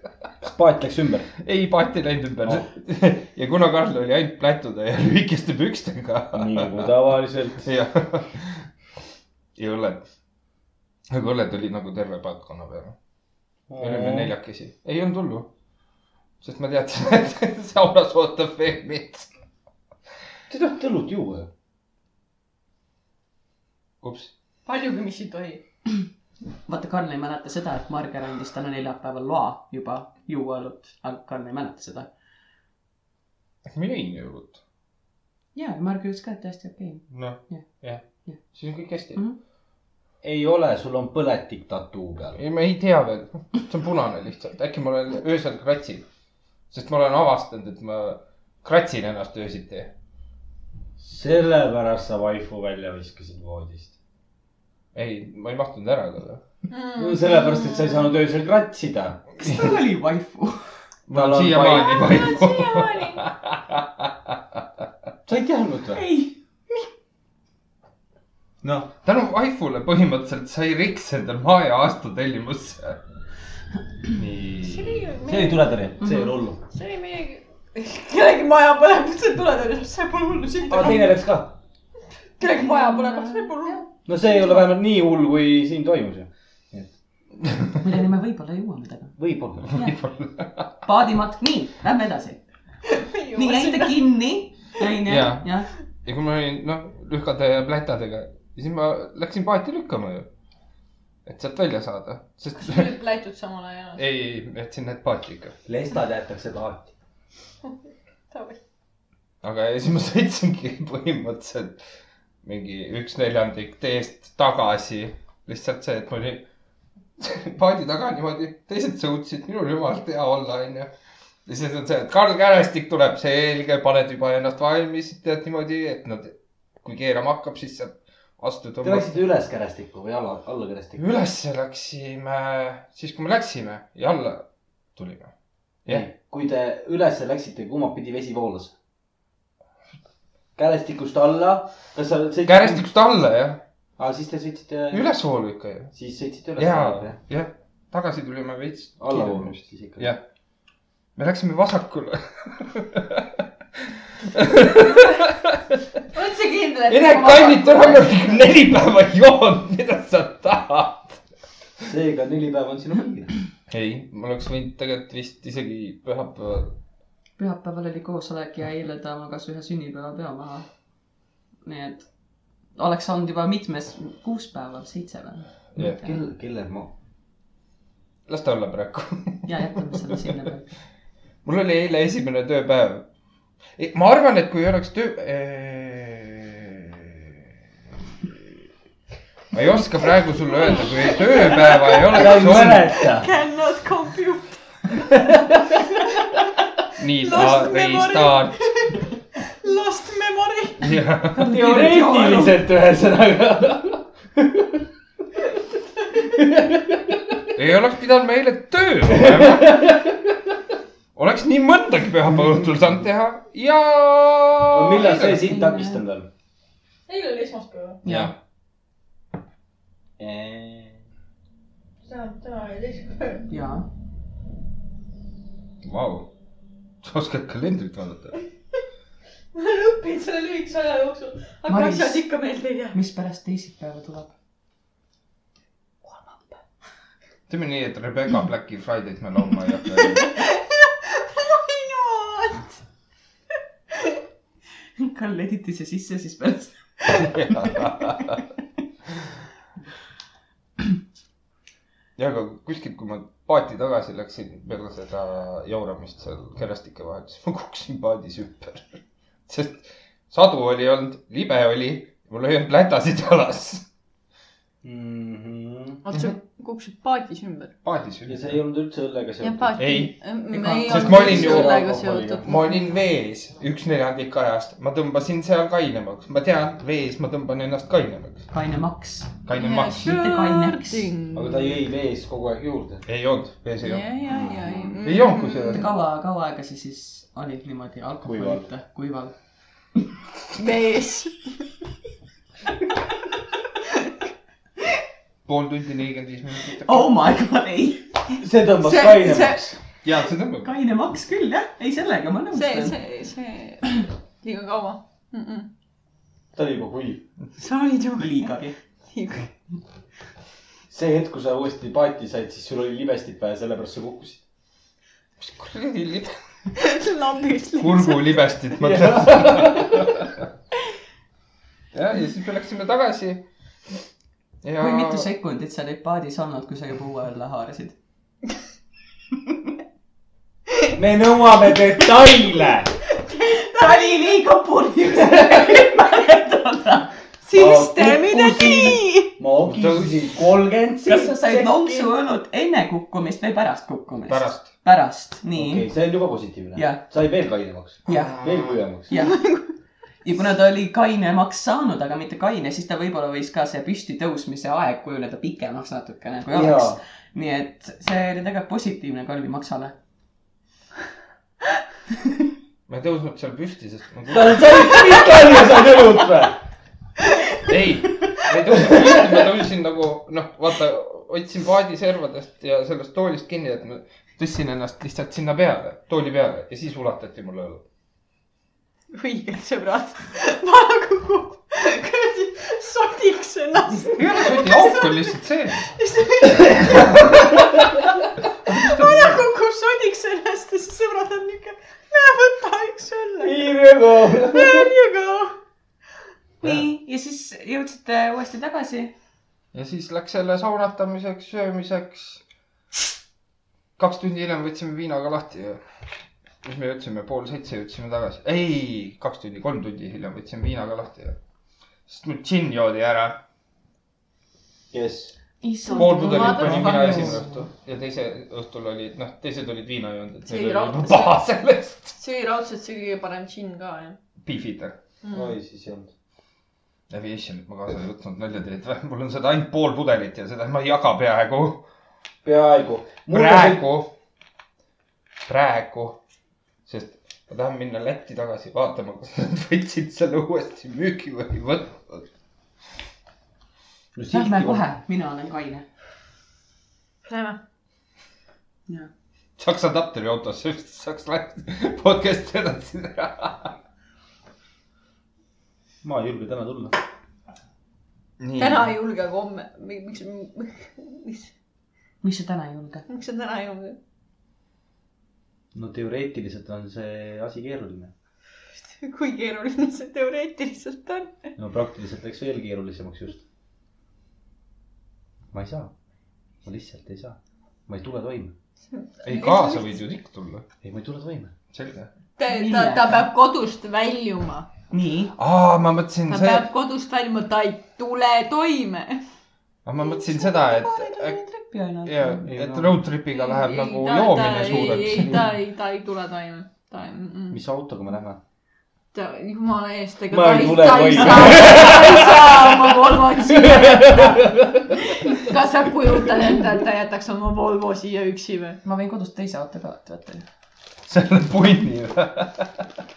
S3: paat läks ümber .
S1: ei , paati läinud ümber
S3: Oh.
S1: oh. . ja kuna Karl oli ainult plätude ja lühikeste pükstega .
S3: nii nagu tavaliselt .
S1: jah . ja õlled . aga õlled oli nagu terve patkonna peal . olime . neljakesi , ei olnud hullu . sest ma teadsin , et saunas ootab veel mind .
S3: Te tahate õlut juua ju ?
S1: ups ,
S4: paljugi , mis ei tohi .
S2: vaata , Karl ei mäleta seda , et Marger andis talle neljapäeval loa juba juua õlut , aga Karl ei mäleta seda .
S1: mina ei jõudnud .
S2: ja , Marger ütles ka , et täiesti okei okay. .
S1: noh ,
S2: Jah.
S1: jah
S2: Jah. ,
S1: siis on kõik hästi
S2: Mhm.
S1: mm .
S3: ei ole , sul on põletik tattoo peal
S1: -hmm. . ei , ma ei tea veel , see on punane lihtsalt , äkki ma olen öösel kratsin . sest ma olen avastanud , et ma kratsin ennast öösiti .
S3: sellepärast sa vaifu välja viskasid voodist .
S1: ei , ma ei mahtunud ära ka .
S3: no sellepärast , et sa ei saanud öösel kratsida .
S2: kas tal oli vaifu ?
S1: ma
S3: Tal on
S1: olen siiamaani vaibu .
S4: Mm. siiamaani .
S3: sa ei teadnud või ?
S2: ei
S3: noh ,
S1: tänu vaifule põhimõtteliselt sai Riks endal maja aasta tellimusse .
S4: see
S1: nii .
S4: oli ju
S3: see ei
S4: meie ,
S3: tule tõrje , see ei ole hullu .
S4: see oli meie , kellegi maja põleb , see tuleb ja see pole hullu , siit
S3: aga
S4: tuleb .
S3: teine läks ka .
S4: kellegi maja põleb , see pole hullu .
S3: no see ei ole vähemalt nii hull , kui siin toimus ju .
S2: milleni me võib-olla jõuame täna .
S3: võib-olla .
S2: paadimatk , nii , lähme edasi . nii , jäite kinni , onju ,
S1: Jaa.
S2: jah .
S1: ja kui ma olin , noh , lühkade ja plätadega , siis ma läksin paati lükkama ju . et sealt välja saada , sest
S4: kas sa olid plätud samal ajal ?
S1: ei , ei , ma jätsin need paati ikka .
S3: lestad jäetakse paati .
S1: aga ja siis ma sõitsingi põhimõtteliselt mingi üks neljandik teest tagasi . lihtsalt see , et ma olin paadi taga niimoodi , teised sõutsid , minul jumal hea olla , onju . ja siis on see , et Karl Kärestik tuleb , selge , paned juba ennast valmis , tead niimoodi , et nad , kui keerama hakkab , siis saab astuda .
S3: Te läksite üles kärestikku või alla , alla kärestikku ?
S1: ülesse läksime , siis kui me läksime ja alla tulime . jah ,
S3: kui te üles läksite , kumab pidi vesi voolas ? kärestikust alla , kas sa sõitsid ?
S1: kärestikust alla jah ,
S3: aa , siis te sõitsite ,
S1: ülesvoolu ikka ju .
S3: siis sõitsite
S1: ja
S3: üles .,
S1: jah , tagasi tulime veits .
S3: allavoolu vist siis ikka .
S1: jah , me läksime vasakule .
S4: oled sa kindel , et .
S1: Ene Kannit on olnud ikka neli päeva joonud , mida sa tahad ?
S3: seega neli päeva on sinu piir .
S1: ei , ma oleks võinud tegelikult vist isegi pühapäeval .
S2: pühapäeval oli koosolek ja eile ta magas ühe sünnipäeva pea maha . nii et oleks olnud juba mitmes , kuus päeva , seitse või
S1: Jah. ?
S3: kelle , kelle ma ?
S1: las ta olla praegu .
S2: ja jätame selle sinna peale .
S1: mul oli eile esimene tööpäev . ma arvan , et kui ei oleks töö . ma ei oska praegu sulle öelda , kui tööpäeva ei
S3: ta ei
S1: oleks olnud .
S3: mäleta .
S4: Cannot compute .
S1: nii ,
S4: Lost
S1: restart .
S4: Lost memory .
S3: teoreetiliselt ühesõnaga .
S1: ei oleks pidanud me eile tööl olema . oleks nii mõndagi pühapäeva õhtul saanud teha ja .
S3: millal see sind takistanud on ?
S4: eile oli esmaspäev .
S1: jah ,
S4: täna , täna oli teisipäev .
S2: ja ,
S1: vau , sa oskad kalendrit vaadata .
S4: ma olen õppinud selle lühikese aja jooksul , aga
S2: Maris.
S4: asjad ikka meelde ei jää .
S2: mispärast teisipäeva tuleb ?
S1: teeme nii , et Rebecca Blacki Friday'd me laulma ei hakka .
S4: my god .
S2: Karl editi see sisse siis pärast .
S1: ja , aga kuskilt , kui ma paati tagasi läksin peale seda jauramist seal kerestike vahel , siis ma kukkusin paadis ümber . sest sadu oli olnud , libe oli , mul ei olnud lätasid jalas .
S3: Mhm.
S4: oota , sa kukkusid paadis ümber ?
S1: paadis
S3: ja
S1: ümber .
S3: see ei olnud üldse õllega seotud .
S4: paati
S1: Ei. .
S4: me ei
S1: Sest ma olin ju-
S4: sellega seotud .
S1: ma olin vees üks neljandik ajast , ma tõmbasin seal kainemaks , ma tean , vees ma tõmban ennast kainemaks ,
S2: kaine maks .
S1: kainemaks .
S2: Mitte kaineks.
S4: aga
S3: aga ta jõi vees kogu aeg juurde .
S1: ei olnud , vees ei
S4: ja ,
S1: olnud .
S4: ja , ja , ja .
S1: Ei olnud
S4: Mm.
S1: kusjuures.
S2: kaua , kaua aega sa siis olid niimoodi alkoholita , kuival ?
S4: mees .
S1: pool tundi , nelikümmend viis minutit .
S2: oh my god , ei .
S3: see tõmbas
S4: See-
S3: kainemaks .
S1: ja see tõmbab .
S2: kaine maks küll jah , ei sellega ma
S4: see ,
S2: nõustun .
S4: see , see liiga kaua mm . -mm.
S3: ta oli juba kuiv .
S4: sa olid ju
S2: liigagi .
S4: liiga .
S3: see hetk , kui sa uuesti paati said , siis sul oli libestit vähe , sellepärast sa kukkusid .
S1: mis kuradi libe ,
S4: lambist lihtsalt .
S1: kurgulibestit ma tean . ja , ja siis me läksime tagasi . ja
S2: kui mitu sekundit sa olid paadis olnud , kui sa juba uue alla haarasid ?
S3: me nõuame detaile .
S2: ta oli liiga purjus , ei mäleta .
S4: siis tee midagi .
S3: ma okisin kolmkümmend .
S2: kas sa said lonksu õlut enne kukkumist või pärast kukkumist ?
S1: pärast .
S2: pärast , nii
S3: okei ,
S2: okay. ,
S3: see on juba positiivne
S2: Jah. .
S3: sai veel kainemaks ,
S2: jah ,
S3: veel kuivemaks .
S2: jah . ja kuna ta oli kainemaks saanud , aga mitte kaine , siis ta võib-olla võis ka see püsti tõusmise aeg kujuneda pikemaks natukene , kui oleks . nii et see oli tegelikult positiivne Kalvi Maksale .
S1: ma ei tõusnud seal püsti , sest ma
S3: sa olid pikali ja said õlut või ?
S1: ei , ma ei tõusnud püsti , ma tõusin nagu noh , vaata , hoidsin paadiservadest ja sellest toolist kinni , et ma tõstsin ennast lihtsalt sinna peale , tooli peale ja siis ulatati mulle õlu .
S4: õiged sõbrad . vana kukub kuradi sodiks ennast .
S1: ei ole soti , auk on lihtsalt
S4: vana
S1: see .
S4: kukub sodiks ennast ja siis sõbrad on niuke , näe võta üks õlle .
S3: nii väga .
S4: There you go .
S2: nii , ja siis jõudsite uuesti tagasi .
S1: ja siis läks jälle saunatamiseks , söömiseks . kaks tundi hiljem võtsime viinaga lahti ja mis me jõudsime , pool seitse jõudsime tagasi , ei , kaks tundi , kolm tundi hiljem võtsime viinaga lahti ja sest mul džinn joodi ära
S3: jess .
S1: pool pudelit panin mina
S2: Motherfuckers.
S1: esimene õhtu ja teise õhtul olid , noh , teised olid viina joonud , et
S4: See
S1: neil
S4: ei
S1: oli juba
S4: rahusta-
S1: paha sellest .
S4: see oli raudselt see kõige parem džinn ka jah
S1: Beefeater ,
S4: mm. .
S5: oi , siis ei olnud .
S1: Aviationit ma kaasa ei võtnud , nalja teed või ? mul on seda ainult pool pudelit ja seda ma ei jaga peaaegu .
S5: peaaegu .
S1: praegu , praegu , sest ma tahan minna Lätti tagasi vaatama , kas nad võtsid selle uuesti müüki või ei võtnud .
S2: Lähme kohe , mina olen kaine .
S4: Lähme .
S1: saaks adapteri autosse , saaks Lätti podcast'i edasi teha .
S3: ma ei julge täna tulla .
S4: täna ei julge , aga homme , miks , miks ,
S2: miks sa täna ei julge ?
S4: miks sa täna ei julge ?
S3: no teoreetiliselt on see asi keeruline .
S4: kui keeruline see teoreetiliselt on ?
S3: no praktiliselt läks veel keerulisemaks just . ma ei saa . ma lihtsalt ei saa . ma ei tule toime .
S1: ei , kaasa võid ju ikka tulla .
S3: ei , ma ei tule toime .
S1: selge .
S4: ta , ta , ta peab kodust väljuma ,
S2: nii ,
S1: aa , ma mõtlesin
S4: ta
S1: see ,
S4: peab kodust väljuma , ta ei tule toime .
S1: ma mõtlesin seda , et äk-
S2: õpi ainult .
S1: jaa , et road trip'iga läheb nagu joomine
S4: ei , ta
S1: suureks .
S4: ei , ta ei tule toime , ta ei ,
S3: mis autoga me lähme ?
S4: ta jumala eest , ega
S5: Ma
S4: ta
S5: ei
S4: ei ,
S5: tule
S4: ta ei
S5: toime.
S4: saa , ta ei saa oma Volvo siia jätta . kas sa kujutad ette , et ta jätaks oma Volvo siia üksi või ?
S2: ma võin kodust teise auto ka võtta .
S1: selle punni või ?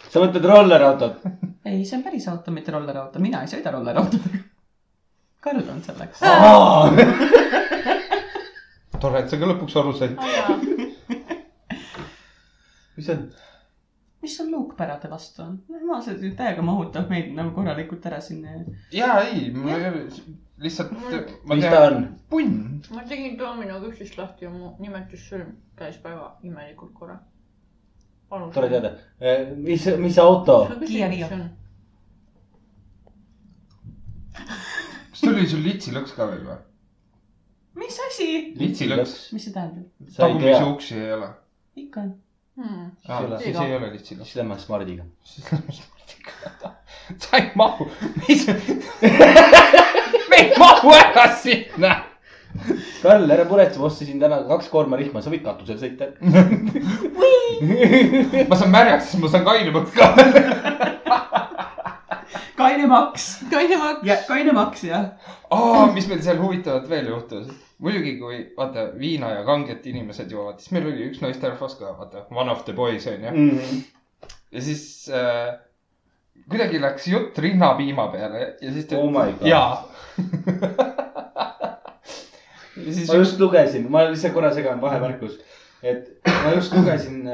S5: sa mõtled rollerautot ?
S2: ei , see on päris auto , mitte rollerauto , mina ei sõida rollerautodega . Karl on selleks .
S1: tore , et sa ka lõpuks aru said .
S3: mis see on ?
S2: mis sul luukpärade vastu on ? ma seda täiega mahutab meid nagu korralikult ära sinna .
S1: jaa , ei , mul ei ole , lihtsalt ma
S5: mis ta
S1: tean ,
S5: on ?
S1: punn .
S4: ma tegin Domino küpsist lahti ja mu nimetussõrm käis väga imelikult korra .
S5: tore . teada .
S3: Eh,
S5: mis , mis auto ?
S2: Kiia Rio. .
S1: kas tuli sul litsilõks ka veel või ?
S2: mis asi ?
S1: litsilõks ,.
S2: mis see tähendab ?
S5: sa ei tea
S1: tagumisi . uksi ei ole .
S2: ikka on .
S4: Hmm.
S5: Ei ole.
S1: siis ei ole litsilõks .
S5: siis lähme Smardiga .
S1: sa ei mahu , mis , me ei mahu ära sinna .
S5: Karl , ära muretse , ma ostsin täna kaks koorma rihma , sa võid katusel sõita .
S1: ma saan märjaks , siis ma saan kainemaks ka .
S2: kaine maks .
S4: kaine maks .
S2: ja kaine maks jah .
S1: aa , mis meil seal huvitavat veel juhtus ? muidugi , kui vaata viina ja kanget inimesed joovad , siis meil oli üks naisterahvas ka , vaata , one of the boys onju .
S3: Mm.
S1: ja siis äh, kuidagi läks jutt rinnapiima peale ja siis ta
S5: Oh my god.
S1: jaa ja siis
S5: ma just lugesin , ma lihtsalt korra segan vahemärkus , et ma just lugesin ,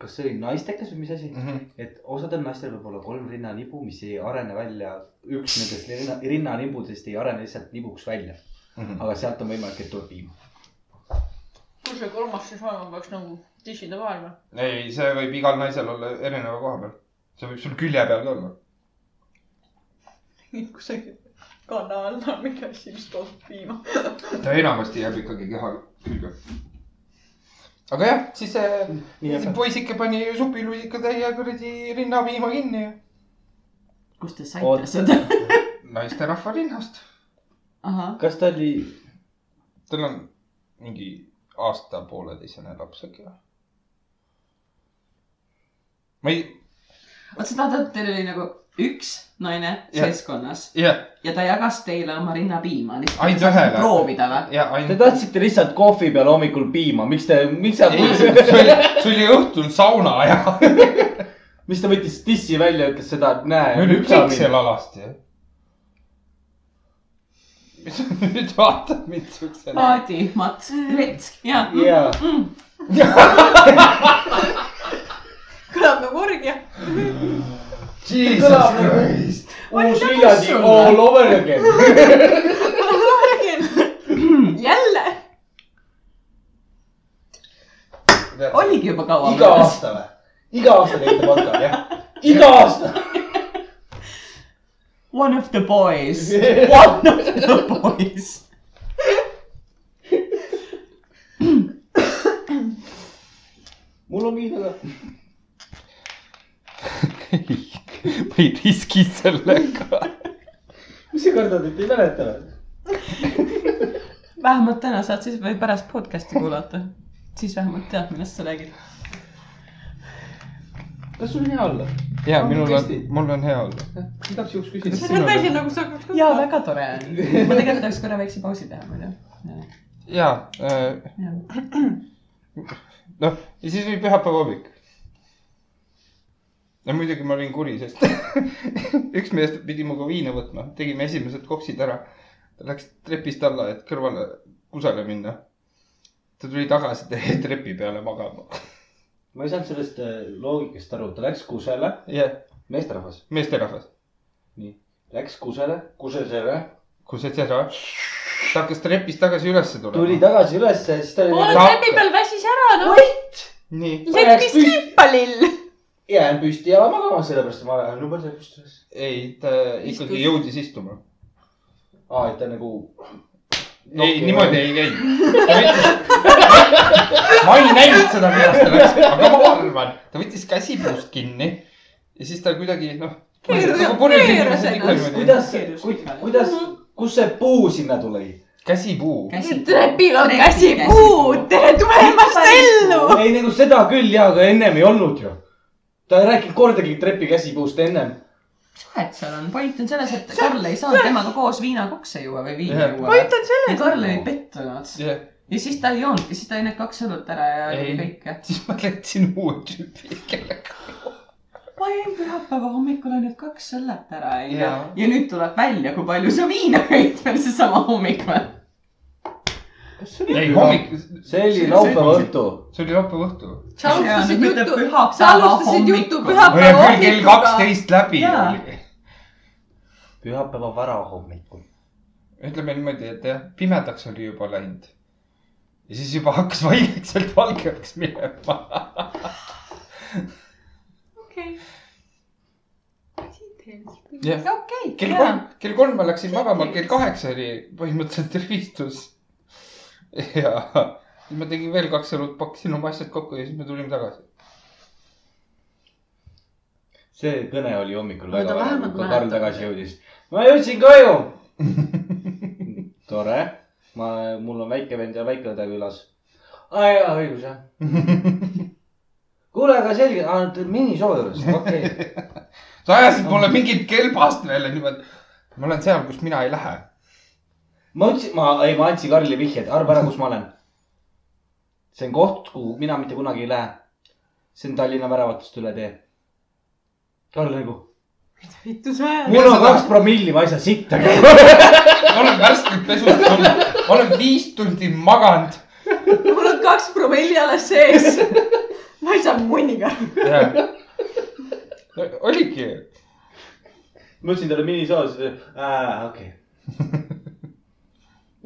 S5: kas see oli naistekas või mis asi ,
S1: Mhm.
S5: et osadel naistel võib olla kolm rinnanibu , mis ei arene välja , üks nendest rinna , rinnanibudest ei arene lihtsalt nibuks välja ,
S1: Mhm.
S5: aga sealt on võimalik , et tuleb piim .
S4: kus see kolmas siis olema peaks nagu tissida vahel või ?
S1: ei , see võib igal naisel olla erineva koha peal . see võib sul külje peal ka olla .
S4: kusagil kanna all on mingi asi , mis toodab piima .
S1: ta enamasti jääb ikkagi keha külge . aga jah , siis see,
S5: nii
S1: see
S5: jääb .
S1: poisike pani supiluisika täie kuradi rinnapiima kinni ja
S2: kust te
S5: Oot.
S2: saite seda ?
S1: naisterahva rinnast .
S2: ahah ,
S5: kas ta oli ,
S1: tal on mingi aasta-pooleteisene laps äkki või ? ma ei ,
S2: vot sa tahad , et teil oli nagu üks naine
S1: Jah.
S2: seltskonnas
S1: jah ,
S2: ja ta jagas teile oma rinnapiima
S1: Ainult
S2: lihtsalt .
S1: ühele.
S2: proovida või ?
S1: ja
S5: te
S1: ainult .
S5: tahtsite lihtsalt kohvi peal hommikul piima , miks te , miks sa ,
S1: see oli , see oli õhtul sauna ja .
S5: mis ta võttis dissi välja , ütles seda , et näe .
S1: me olime kõik seal alasti . nüüd vaatad mind siuksena .
S2: paadi , mats , rets ja .
S5: jaa ,
S4: kõlab nagu orgia .
S1: Jesus
S5: Kõlab nagu-
S1: Christ . nagu
S5: uus Viljandi all over again .
S4: jälle .
S2: oligi juba kaua
S5: iga . aasta või ? iga aasta teete podcast , jah ? iga aasta .
S2: One of the boys .
S5: What ?
S2: poiss .
S5: mul on viis nädalat .
S1: ma ei riski sellega .
S5: mis sa kardad , et ei mäleta või ?
S2: vähemalt täna saad siis või pärast podcast'i kuulata . siis vähemalt tead , millest sa räägid .
S5: kas sul on hea olla ?
S1: ja minul on
S5: tõesti. ,
S1: mul on hea olla .
S5: ma tahaks juhuks küsida .
S4: see on täiesti nagu sa hakkad
S2: ja väga tore on . ma tegelikult tahaks korra väikse pausi teha muidu .
S1: ja äh, noh , ja siis oli pühapäeva hommik . no muidugi ma olin kuri , sest üks mees pidi minuga viina võtma , tegime esimesed koksid ära . ta läks trepist alla , et kõrvale kusagile minna . ta tuli tagasi te- trepi peale magama .
S3: ma ei saanud sellest äh, loogikast aru , ta läks kusele ,
S1: jah ,
S3: meesterahvas ,
S1: meesterahvas ,
S3: läks kusele , kusesele ,
S1: kus see ära , ta hakkas trepist tagasi ülesse
S3: tuli
S1: tulema .
S3: tagasi ülesse , siis ta oli nagu-
S4: mul
S1: Tahab-
S4: trepi peal väsis ära , no
S1: nii ,
S4: lekkis kriipalill .
S3: jään püsti ja magama , sellepärast et ma olen juba seal püsti üles .
S1: ei , ta ikkagi jõudis istuma .
S3: aa , et ta nagu .
S1: ei , niimoodi ei käinud . ma ei näinud seda , kuidas ta läks , aga ma arvan , ta võttis käsi puust kinni ja siis ta kuidagi noh .
S4: Keeras- keeras ennast.
S3: kuidas , kuidas ,
S1: Mhm.
S3: kus see puu sinna tuli ?
S1: käsipuu .
S4: trepil on käsi puud , tere tulemast ellu .
S3: ei nagu seda küll ja , aga ennem ei olnud ju . ta ei rääkinud kordagi trepi käsipuust ennem .
S2: vahet seal on , point on selles , et Karl ei saanud temaga koos viinakokse juua või viina
S1: Jah.
S2: juua .
S4: point on selles
S2: ja . Karl oli pettunud .
S1: jah ,
S2: ja siis ta ei joonudki , siis ta jõi need kaks õlut ära ja
S1: Ei.
S2: oli kõik .
S1: siis ma läksin uue tüübi kellega .
S2: ma jõin pühapäeva hommikul ainult kaks õllet ära onju
S1: Jaa. .
S2: ja nüüd tuleb välja , kui palju sa viina jõid veel seesama hommik või ?
S1: ei , hommik ,
S3: see oli laupäeva õhtu .
S1: see oli laupäeva õhtu .
S4: sa alustasid juttu , sa alustasid juttu
S1: no ja
S4: pühapäeva
S1: küll kell kaksteist läbi
S2: Jaa.
S1: oli .
S3: pühapäeva varahommikul .
S1: ütleme niimoodi , et jah , pimedaks oli juba läinud . ja siis juba hakkas vaikselt valgeks minema .
S4: okei .
S1: jah ,
S2: okei ,
S1: kell kolm , kell kolm ma läksin magama , kell kaheksa oli põhimõtteliselt rivistus . ja siis ma tegin veel kaks õlut , pakkisin oma asjad kokku ja siis me tulime tagasi .
S3: see kõne oli hommikul
S4: Aga
S3: väga
S4: ta
S3: vara ,
S4: vähemalt
S3: kui
S4: mäletab.
S3: Karl tagasi jõudis . ma jõudsin koju . tore , ma , mul on väike vend ja väike õde külas . aa jaa , õigus jah . kuule , aga selge , aa , te olete minisoo juures , okei okay. .
S1: sa ajasid mulle mingit kelbast veel ja niimoodi . ma olen seal , kus mina ei lähe .
S3: ma ütlesin , ma , ei , ma andsin Karlile vihjed , arva ära , kus ma olen . see on koht , kuhu mina mitte kunagi ei lähe . see on Tallinna väravatest üle tee . Karl nagu ,
S4: vittu sa ajad .
S3: mul on kaks promilli , ma ei saa sitta käia .
S1: ma olen värskelt pesust tulnud , ma olen viis tundi maganud .
S4: mul on kaks promilli alles sees . ma ei saa munniga .
S1: oligi ,
S3: ma ütlesin talle minisoo , siis ta ütles , aa , okei okay. .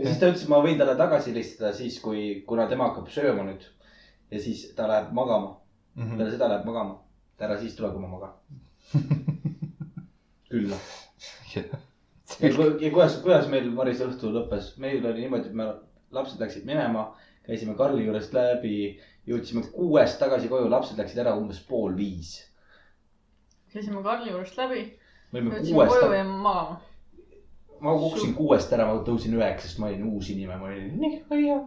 S3: ja siis ta ütles , et ma võin talle tagasi helistada siis , kui , kuna tema hakkab sööma nüüd . ja siis ta läheb magama ,
S1: Mhm.
S3: peale seda läheb magama . ära siis tule , kui ma magan . küll . ja
S1: see
S3: ku- ja kuidas , kuidas meil Maris õhtu lõppes , meil oli niimoodi , et me , lapsed läksid minema , käisime Karli juurest läbi , jõudsime kuuest tagasi koju , lapsed läksid ära umbes pool viis .
S4: käisime Karli juurest läbi ,
S3: me olime
S4: jõudsime
S3: kuuest
S4: koju ja jäime magama .
S3: ma kukkusin kuuest ära , ma tõusin üheksast , ma olin uus inimene , ma olin nii hea .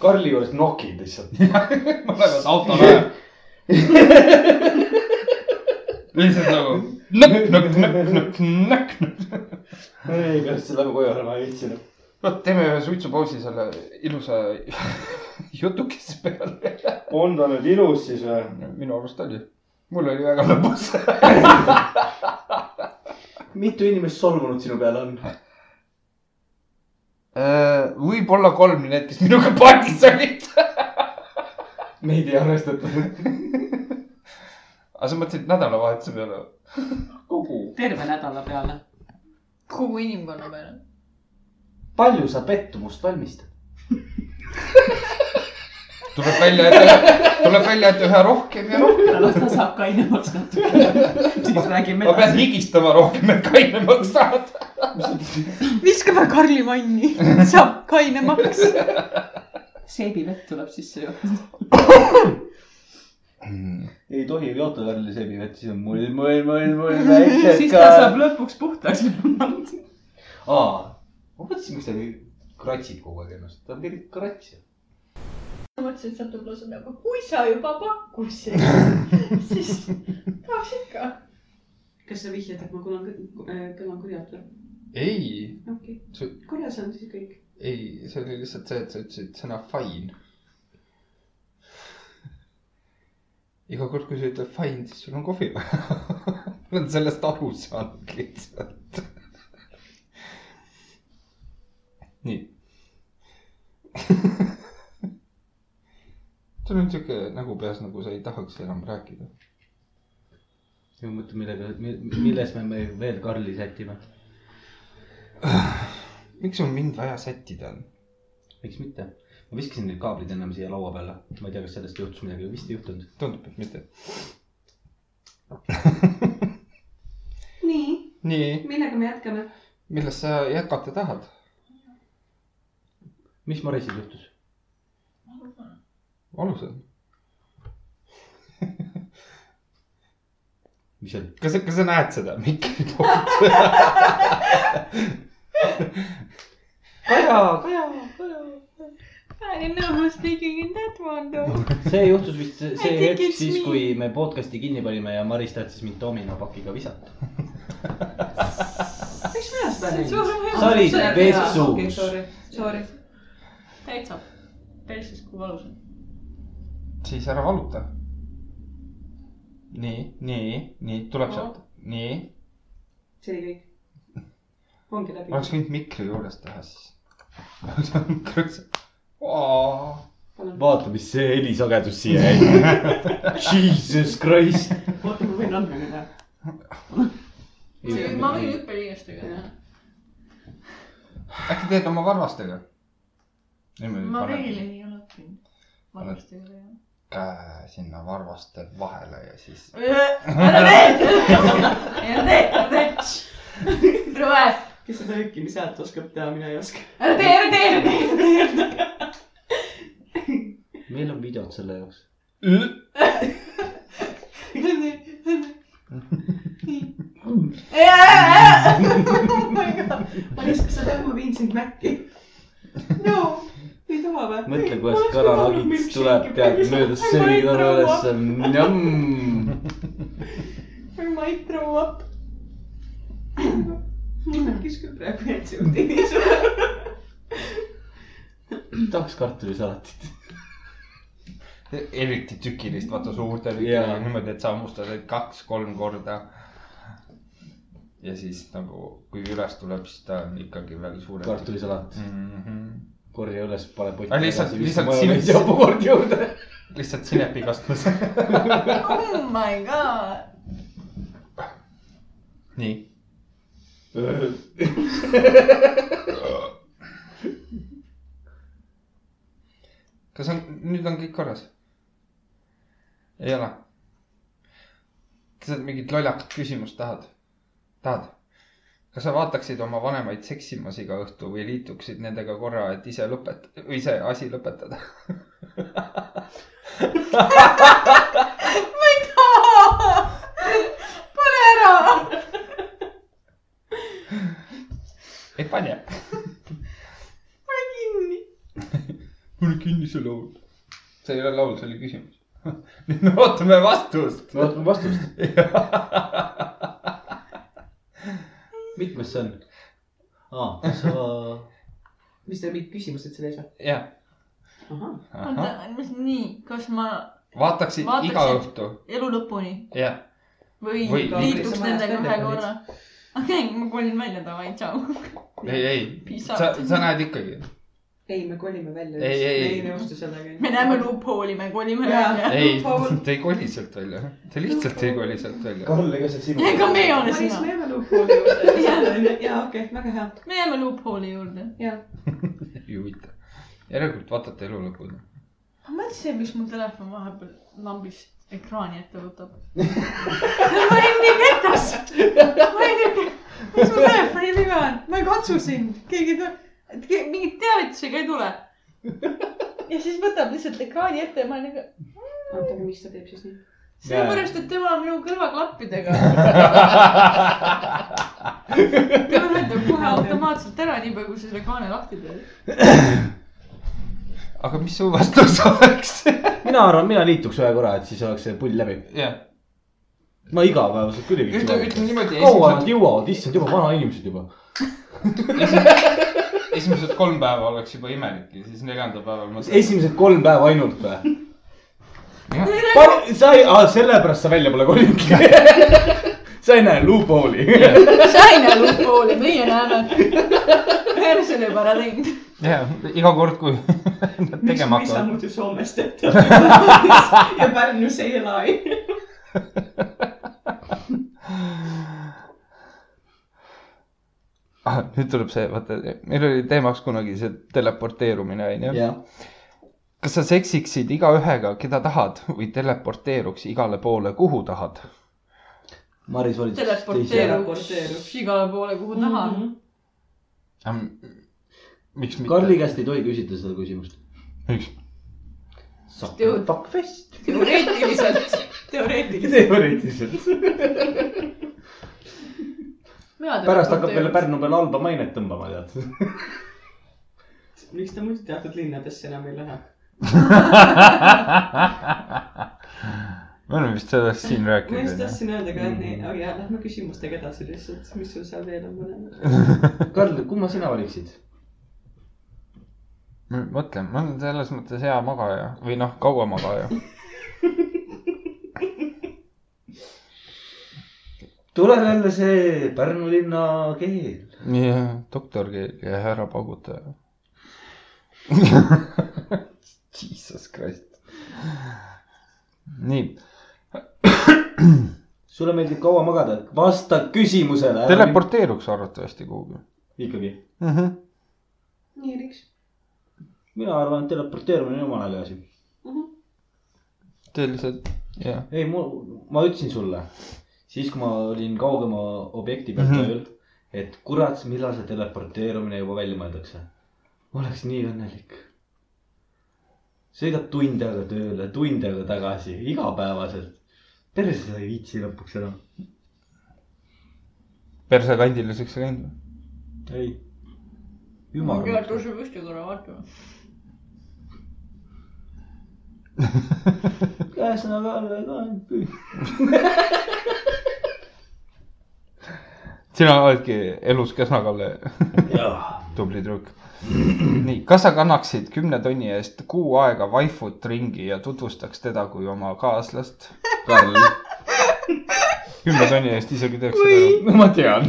S3: Karli juures nokin lihtsalt .
S1: mõlemad autol ajavad . lihtsalt nagu nõkk , nõkk , nõkk , nõkk , nõkk , nõkk .
S3: ei , kas see läheb koju ära , ma ei viitsinud .
S1: no teeme ühe suitsupausi selle ilusa jutukese peale .
S3: on ta nüüd ilus siis või ?
S1: minu arust oli , mul oli väga lõbus .
S3: mitu inimest solvunud sinu peale on ?
S1: Äh, võib-olla kolm need , kes minuga paadis olid .
S3: meid ei arvestatud .
S1: aga sa mõtlesid nädalavahetuse peale ?
S3: kogu .
S2: terve nädala peale .
S4: kogu inimkonna peale .
S3: palju sa pettumust valmistad ?
S1: tuleb välja , et , tuleb välja , et üha rohkem ja rohkem .
S2: las ta saab kainemaks natuke . siis räägime
S1: ma pean
S2: edasi .
S1: higistama rohkem , et kainemaks saada .
S4: viskame Karli vanni , saab kainemaks .
S2: seebivett tuleb sisse ju .
S3: ei tohi joota Karli seebivett , siis on mul , mul , mul , mul väiksed
S2: siis ta saab lõpuks puhtaks .
S3: aa , ma mõtlesin , miks ta nii
S5: kratsib kogu aeg ennast , ta on tegelikult krats ju .
S4: ma mõtlesin , et sealt tuleb lause nagu , kui sa juba pakkusid , siis tahaks ikka .
S6: kas sa vihjad , et ma kõlan , kõlan kurjalt või ?
S1: ei ,
S6: okei
S1: Su-
S6: okay. , korras on siis kõik .
S1: ei , see oli lihtsalt see , et sa ütlesid sõna fine . iga kord , kui sa ütled fine , siis sul on kohvi vaja . ma olen sellest aru saanud lihtsalt . nii . sul on siuke nägu peas , nagu sa ei tahaks enam rääkida .
S3: ja ma mõtlen , millega , milles me me veel Karli sätime .
S1: miks sul mind vaja sättida on ?
S3: miks mitte ? ma viskasin need kaablid ennem siia laua peale , ma ei tea , kas sellest juhtus midagi , vist ei juhtunud .
S1: tundub , et mitte .
S6: nii ,
S1: nii ,
S6: millega me jätkame ?
S1: millest sa jätkata tahad ?
S3: mis Marisil juhtus ?
S1: alused .
S3: mis see oli ?
S1: kas , kas sa näed seda Mikki poolt ?
S3: Kaja , Kaja .
S4: I don't know who's speaking in that one though .
S3: see juhtus vist see- see
S4: I think
S3: hetk
S4: it's
S3: siis ,
S4: me.
S3: kui me podcast'i kinni panime ja Maris tahtis mind dominopakiga visata .
S6: miks mina seda
S4: see on
S6: nägin ?
S4: suurem hea
S3: Sa olid vetsus.
S6: Sorry , sorry .
S4: täitsa , päris kui valus on .
S1: siis ära valuta . nii , nii , nii , tuleb sealt . nii ,
S6: see oli kõik . ongi läbi .
S1: oleks võinud mikri juures teha siis .
S6: palun ,
S3: vaata , mis see helisagedus siia jäi . Jesus Christ .
S6: oota , ma võin andmega teha .
S4: ma võin hüppeliinestega teha .
S1: äkki teed oma varvastega ? niimoodi
S4: ma veel
S1: paned
S4: ei ole õppinud . ma
S1: Paned-
S4: varsti ei ole .
S1: käe sinna varvaste vahele ja siis .
S4: ära tee , ära tee , ära tee . rõve ,
S6: kes seda hüppimise häält oskab teha , mina ei oska .
S4: ära tee , ära tee , ära tee .
S3: meil on videod selle jaoks .
S6: Oh Maris , kas sa tahad , ma viin sind Maci ? no , ei taha või ?
S3: mõtle , kuidas kananagits tuleb , tead , mööda söögitoru ülesse . njamm .
S6: I might throw up . mul tekkis küll praegu jätsunud .
S3: tahaks kartulisalatit .
S1: eriti tükilist , vaata suurte
S3: Jaa.
S1: lükkidega niimoodi , et sa hammustad neid kaks-kolm korda . ja siis nagu , kui üles tuleb , siis ta on ikkagi väga suure .
S3: kartulisalat ,
S1: mm . -hmm.
S3: korja üles , pane potti .
S1: Aga lihtsalt- lihtsalt
S3: silmis
S1: silmis-
S3: ja poolt juurde .
S1: lihtsalt sinepikastus .
S4: Oh my god .
S1: nii . kas on , nüüd on kõik korras ? ei ole ? kas sa mingit lollakat küsimust tahad ? tahad ? kas sa vaataksid oma vanemaid seksimas iga õhtu või liituksid nendega korra , et ise lõpet- , või ise asi lõpetada ?
S4: ma ei taha . pane ära .
S1: ei pane .
S4: pane kinni .
S1: mul kinni see laul . see ei ole laul , see oli küsimus . nüüd me ootame vastust .
S3: me ootame vastust . mitmes see on ? aa , kas sa ,
S6: mis teil mingid küsimused seal ei saa ?
S1: jah .
S6: ahah ,
S4: oota , mis nii , kas ma
S1: vaataksid
S4: Vaataksid.
S1: iga õhtu ,
S4: elu lõpuni
S1: jah .
S4: või,
S1: Või-
S4: liituks
S6: Või-
S4: nendega ühe
S6: Või-
S4: korra ? okei , ma kolin välja davai , tšau .
S1: ei , ei ,
S4: Peace
S1: sa ,
S4: out.
S1: sa näed ikkagi .
S6: ei , me kolime välja .
S1: Ei, ei, ei.
S6: ei nõustu sellega .
S4: me näeme . luuphooli , me kolime
S6: Jaa.
S4: välja .
S1: ei , ta ei koli sealt välja , ta lihtsalt ei koli sealt välja .
S5: Karl , ega see sinu .
S4: ega me ei ole
S6: Maris , me
S4: sina ,
S6: jääme luupooli juurde . jaa , okei , väga hea .
S4: me jääme luuphooli juurde .
S6: jaa .
S1: ei huvita . järelikult vaatate elu lõpuni .
S4: ma mõtlesin , miks mul telefon vahepeal lambist ekraani ette võtab . ma olin nii petas . ma ei tea ,
S6: mis mu telefoni nimi on ? ma ei katsu sind , keegi ei tea .
S4: mingit teavitusi ka ei tule . ja siis võtab lihtsalt ekraani ette ja ma olen nagu ,
S6: oota , aga miks ta teeb siis nii ?
S4: sellepärast , et tema on minu kõrvaklappidega . ta ühendab kohe automaatselt ära , niipea kui sa selle kaane lahti teed .
S1: aga mis su vastus oleks ?
S3: mina arvan , mina liituks ühe korra , et siis oleks see pull läbi .
S1: jah ,
S3: ma igapäevaselt küll ei
S1: ütle , ütleme niimoodi ,
S3: kaua nad
S1: esimesed ,
S3: jõuavad , issand juba vanainimesed juba .
S1: esimesed kolm päeva oleks juba imelik ja siis neljanda päeval ma .
S3: esimesed kolm päeva ainult või ?
S1: jah ,
S3: sa ei , sellepärast sa välja pole kolinudki . sa ei näe loophole'i .
S4: sa ei näe lukupooli , meie näeme . me oleme selle juba ära teinud .
S1: jah , iga kord , kui nad
S6: miks
S1: tegema
S6: ma ei
S1: hakkavad .
S6: saanud ju Soomest ette ja Pärnus ei ela .
S1: ah, . nüüd tuleb see , vaata , meil oli teemaks kunagi see teleporteerumine onju .
S3: jah ,
S1: kas sa seksiksid igaühega , keda tahad või teleporteeruks igale poole , kuhu tahad ?
S3: Maris valitsus .
S4: teleporteeruks
S6: Teleporteeruks.
S4: igale poole , kuhu tahan .
S6: Mhm.
S1: miks
S3: Karli
S1: mitte ?
S3: käest ei tohi küsida seda küsimust .
S1: miks ?
S4: Dude.
S3: Fuck fest .
S4: teoreetiliselt . teoreetiliselt .
S3: teoreetiliselt . pärast hakkab
S4: veel
S3: meile . Pärnu peale halba mainet tõmbama , tead .
S6: miks ta muidu teatud linnadesse enam ei lähe ?
S1: me oleme vist sellest siin
S6: ma just
S1: rääkinud .
S6: tahtsin öelda ka , et nii ,
S3: mm.
S6: aga jah , lähme küsimustega edasi lihtsalt , mis sul seal veel on mõlemad .
S3: Karl , kumma sina valiksid ?
S1: mõtlen , ma olen selles mõttes hea magaja või noh , kaua magaja .
S3: tuleb jälle see Pärnu linna keel .
S1: jah , doktorkeel ja härra paugutaja . Jesus Christ . nii
S3: sulle meeldib kaua magada , vasta
S1: Äh,
S3: küsimusele .
S1: teleporteeruks arvatavasti kuhugi
S3: ikkagi ,
S1: mm . -hmm.
S6: nii , Riks .
S3: mina arvan , et teleporteerumine on jumala hea asi .
S1: tõeliselt , jah .
S3: ei , mul , ma ütlesin sulle , siis kui ma olin kaugema objekti peal
S1: Mhm.
S3: tööl mm , -hmm. et kurat , millal see teleporteerumine juba välja mõeldakse . ma oleks nii õnnelik . sõidad tund aega tööle , tund aega tagasi , igapäevaselt . päris ei viitsi lõpuks enam .
S1: persekandiliseks ei läinud või ?
S3: ei .
S4: ma ei tea ,
S3: ümar .
S4: tõuse püsti korra vaatama .
S3: ühesõnaga , ka püü .
S1: sina oledki elus kesnakalle
S3: jaa .
S1: tubli trükk . nii , kas sa kannaksid kümne tonni eest kuu aega vaifut ringi ja tutvustaks teda kui oma kaaslast ?
S3: Karl .
S1: kümne tonni eest isegi teeks seda .
S3: no ma tean .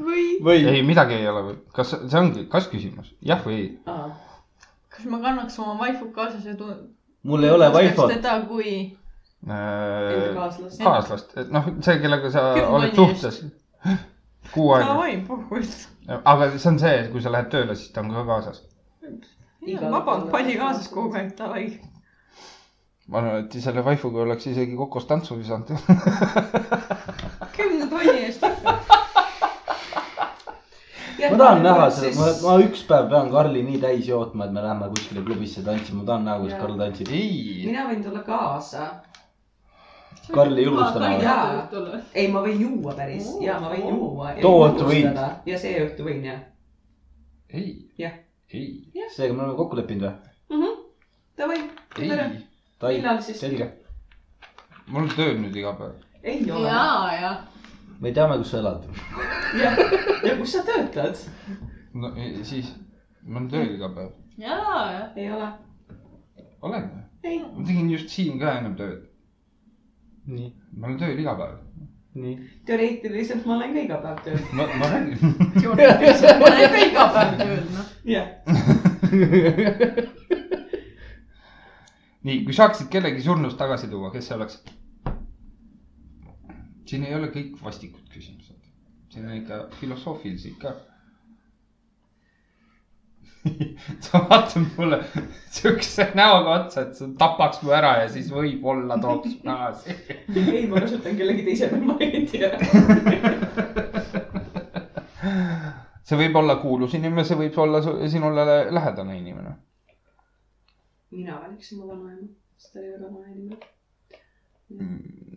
S4: või
S3: või ?
S1: ei , midagi ei ole või ? kas see ongi , kas küsimus , jah või ei ?
S4: kas ma kannaks oma vaifut kaasas ja tun- .
S3: mul ei ole wifi't .
S4: teda kui .
S3: Äh,
S6: enda kaaslast .
S1: Äh, kaaslast , noh , see , kellega sa
S4: Kümne
S1: oled
S4: tonni eest.
S1: suhtes . kuu aega ,
S4: davai , puhkust .
S1: aga see on see , et kui sa lähed tööle , siis ta on ka kaasas .
S6: Igal
S4: vabalt
S6: pool.
S4: palli kaasas kogu aeg , davai .
S1: ma arvan , et selle vaifuga oleks isegi kokos tantsu visanud .
S4: kümne tonni eest .
S3: ma tahan näha seda , ma , ma üks päev pean Karli nii täis jootma , et me läheme kuskile klubisse tantsima , ma tahan näha , kuidas
S6: Jaa.
S3: Karl tantsib .
S1: ei ,
S6: mina võin tulla kaasa .
S3: Karli julgusta
S4: ma
S3: näha.
S4: ei taha õhtule .
S6: ei , ma võin juua päris ja ma võin juua .
S3: Too õhtu võid. .
S6: ja see õhtu võin jah .
S1: ei ,
S6: Jah.
S1: ei ,
S3: seega me oleme kokku leppinud või ?
S6: Davai , teeme ära .
S1: ei ,
S3: tai ,
S6: millal siis ?
S3: selge .
S1: mul on töö nüüd iga päev .
S6: ei ole .
S4: ja , ja .
S3: me teame , kus sa elad .
S6: ja kus sa töötad ?
S1: no ei, siis , mul on tööl iga päev .
S4: ja , ja .
S6: ei ole .
S1: olen või ?
S6: ei .
S1: ma tegin just siin ka ennem tööd .
S3: nii ,
S1: ma olen tööl iga päev .
S3: nii .
S6: teoreetiliselt ma olen ka iga päev tööl .
S1: ma , ma räägin .
S4: ma olen ka iga päev tööl , noh .
S6: jah .
S1: nii , kui saaksid kellegi surnust tagasi tuua , kes see oleks ? siin ei ole kõik vastikud küsimused . siin on ikka filosoofilisi ka . sa vaatad mulle siukse näoga otsa , et sa tapaks mu ära ja siis võib-olla tooks tagasi .
S6: ei , ma kasutan kellegi teise nime , ma ei tea .
S1: see võib olla kuulus inimene , see võib olla su- sinule lähedane inimene .
S6: mina valiksin oma vanaema , sest ta oli väga vana inimene .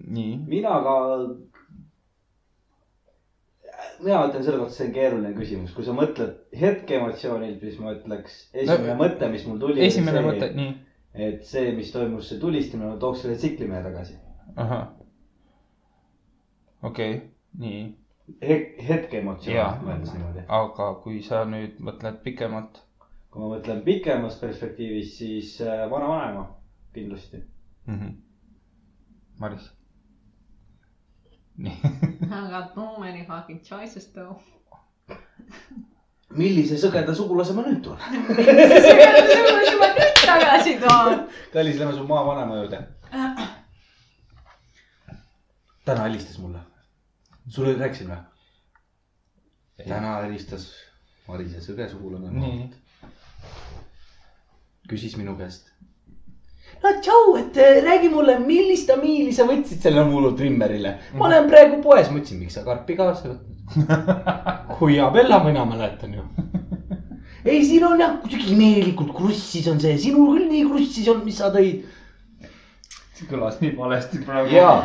S1: nii .
S5: mina ka . mina ütlen selle kohta , see on keeruline küsimus , kui sa mõtled hetke emotsioonilt , siis ma ütleks , esimene
S1: No,
S5: mõte , mis mul tuli .
S1: esimene mõte , nii ,
S5: et see , mis toimus , see tulistamine , ma tooks selle tsiklimehe tagasi
S1: ahah . okei okay, , nii ,
S5: He- . hetke
S1: Jaa.
S5: emotsioonilt mõeldes niimoodi .
S1: aga kui sa nüüd mõtled pikemalt
S5: kui ma mõtlen pikemas perspektiivis , siis äh, vanavanema kindlasti .
S1: mm . -hmm. Maris . nii ,
S4: I got too many fucking choices though .
S5: millise sõgeda sugulase ma nüüd tulen ?
S4: sa pead sulle juba nüüd tagasi tooma .
S5: kallis , lähme su maavanema juurde . täna helistas mulle . sulle rääkisin või ? täna helistas Marise sõge sugulane
S1: nii .
S5: küsis minu käest . no tšau , et eh, räägi mulle , millist amiili sa võtsid selle mullu trimmerile . ma olen praegu poes , ma ütlesin , miks sa karpi kaasa ei võtnud . kui Abella mina mäletan ju . ei , siin on jah , kuidagi imelikult krussis on see , sinul küll nii krussis on , mis sa tõid .
S1: see kõlas nii valesti praegu
S5: Jaa. .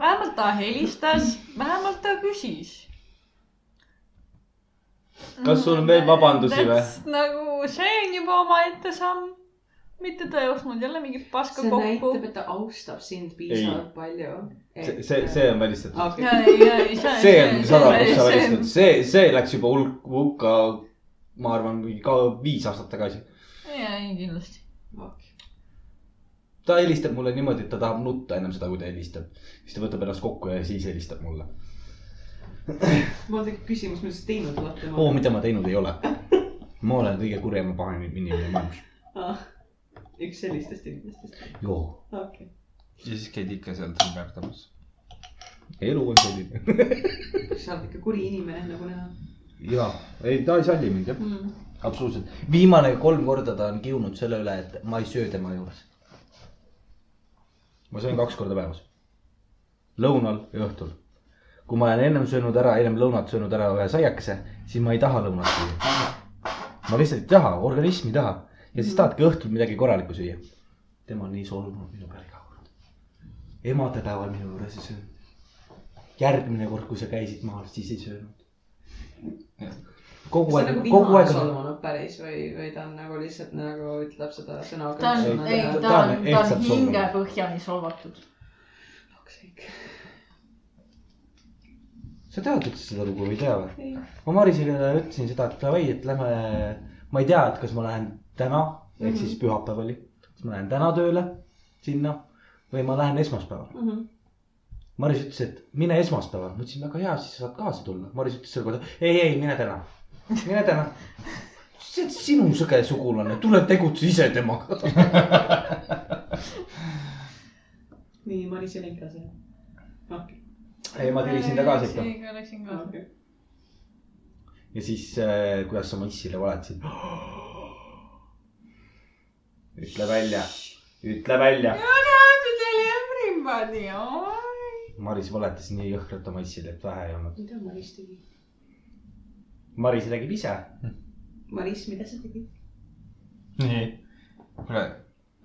S4: vähemalt ta helistas , vähemalt ta küsis .
S5: kas sul on veel vabandusi või ?
S4: Mm, nagu see on juba omaette samm . mitte ta ei ostnud jälle mingit paska
S2: see
S4: kokku
S2: näitab , et ta austab sind piisavalt palju .
S3: see ,
S6: äh,
S3: see , see on välistatud .
S4: ja
S2: okay. . ,
S4: ja , ja see .
S3: see on sada prossa välistatud , see , see läks juba hulk , hulka , ma arvan , mingi ka viis aastat tagasi .
S4: ja , ei kindlasti .
S3: ta helistab mulle niimoodi , et ta tahab nutta ennem seda , kui ta helistab . siis ta võtab ennast kokku ja siis helistab mulle .
S6: mul tekib küsimus , mida sa teinud oled
S3: oo , mida ma teinud ei ole . ma olen kõige kurjem ja pahem inimene maailmas .
S6: tema ? Ah, üks sellistest inimestest .
S3: joo ,
S6: okei .
S1: ja siis käid ikka seal trimmerdamas .
S3: elu on selline .
S6: sa oled ikka kuri inimene , nagu näha .
S3: jaa , ei ta ei salli mind jah
S6: Mm.
S3: absoluutselt , viimane kolm korda ta on kiunud selle üle , et ma ei söö tema juures . ma söön kaks korda päevas . lõunal ja õhtul . kui ma olen ennem söönud ära , ennem lõunat söönud ära ühe saiakese , siis ma ei taha lõunat süüa . ma lihtsalt ei taha , organism ei taha ja siis tahadki õhtul midagi korralikku süüa . tema on nii solvunud minu peale iga kord . emadepäeval minu juures ei söönud . järgmine kord , kui sa käisid maal , siis ei söönud . kogu
S2: kas ta on
S3: aeg
S2: nagu ,
S3: kogu
S2: vihane
S3: aeg on
S2: solvunud päris või , või ta on nagu lihtsalt nagu ütleb seda sõna .
S4: ta on ,
S6: nagu
S4: ei ,
S3: ta-
S4: ta
S3: ta
S4: on ,
S3: on
S4: ta on
S3: ehtsalt solvunud.
S4: hingepõhjani solvatud .
S3: sa tead üldse seda lugu või ei tea või ? ma Marisele ütlesin seda , et davai , et lähme , ma ei tea , et kas ma lähen täna ehk siis pühapäev oli , kas ma lähen täna tööle sinna või ma lähen esmaspäeval .
S6: Mhm.
S3: Maris ütles , et mine esmaspäeval , ma ütlesin väga hea , siis sa saad kaasa tulla . Maris ütles selle kohta , ei , ei mine täna , mine täna . see on sinu sõge sugulane , tule tegutse ise temaga .
S6: nii , Maris oli ka see . okei .
S3: ei , ma tilisin ta kaasa ikka .
S4: ikka . läksin kaasa .
S3: ja siis äh, , kuidas sa oma issile valetasid . ütle välja , ütle välja .
S4: Everybody ,
S3: Maris valetas nii jõhkralt oma issile , et vähe ei olnud .
S6: mida Maris tegi ?
S3: Maris räägib ise .
S6: Maris , mida sa tegid ?
S1: nii , kuule ,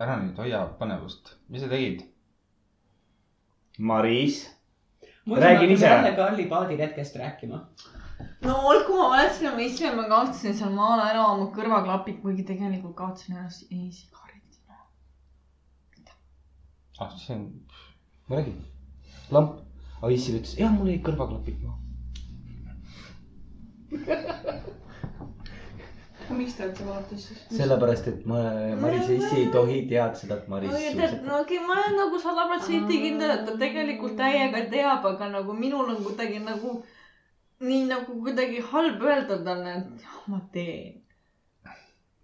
S1: ära nüüd hoia põnevust , mis sa tegid ?
S3: Maris ,
S6: muidu
S3: Räägin
S6: me hakkame
S3: ise.
S6: jälle Karli paadiretkest rääkima .
S4: no olgu , ma mäletasin , ma ise , ma kaotasin seal maal ära oma kõrvaklapid , kuigi tegelikult kaotasin ära si- ei, sigareti .
S1: ah , see on ,
S3: ma räägin . lamp , aga issile ütles , jah , mul jäid kõrvaklapid maha .
S6: aga miks ta üldse vaatas siis ?
S3: sellepärast , et ma , Marise issi ei tohi teada seda , et Maris
S4: no ja ta ,
S3: suitsetab .
S4: no okei , ma olen nagu sada protsenti kindel , et ta tegelikult täiega teab , aga nagu minul on kuidagi nagu nii nagu kuidagi halb öelda talle , et jah , ma teen .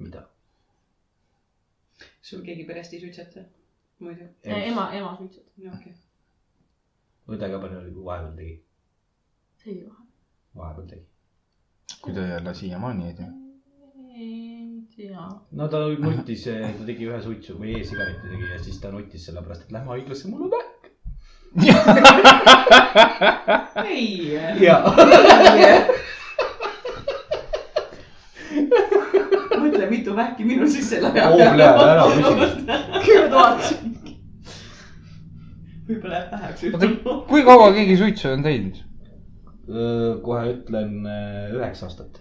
S3: mida ?
S6: sul keegi perest ei suitseta ? muidu .
S4: ema , ema suitsetab .
S6: no okei .
S3: õde ka palju oli , kui vahepeal tegi ,
S4: tegi vahe .
S3: vahepeal tegi .
S1: kui ta jälle siiamaani ei tea .
S4: ei tea .
S3: no ta nuttis , ta tegi ühe suitsu või e-sigareti tegi ja siis ta nuttis sellepärast , et lähme haiglasse , mul on vähe .
S6: ei . äh,
S3: ja ,
S6: mõtle , teada , mitu vähki minu sisse läheb .
S3: oo , läheb ära , küsimus .
S4: kümme tuhat .
S6: võib-olla jääb väheks
S1: Oota,
S6: ütlema .
S1: kui kaua keegi suitsu on teinud ?
S3: kohe ütlen äh, üheksa aastat .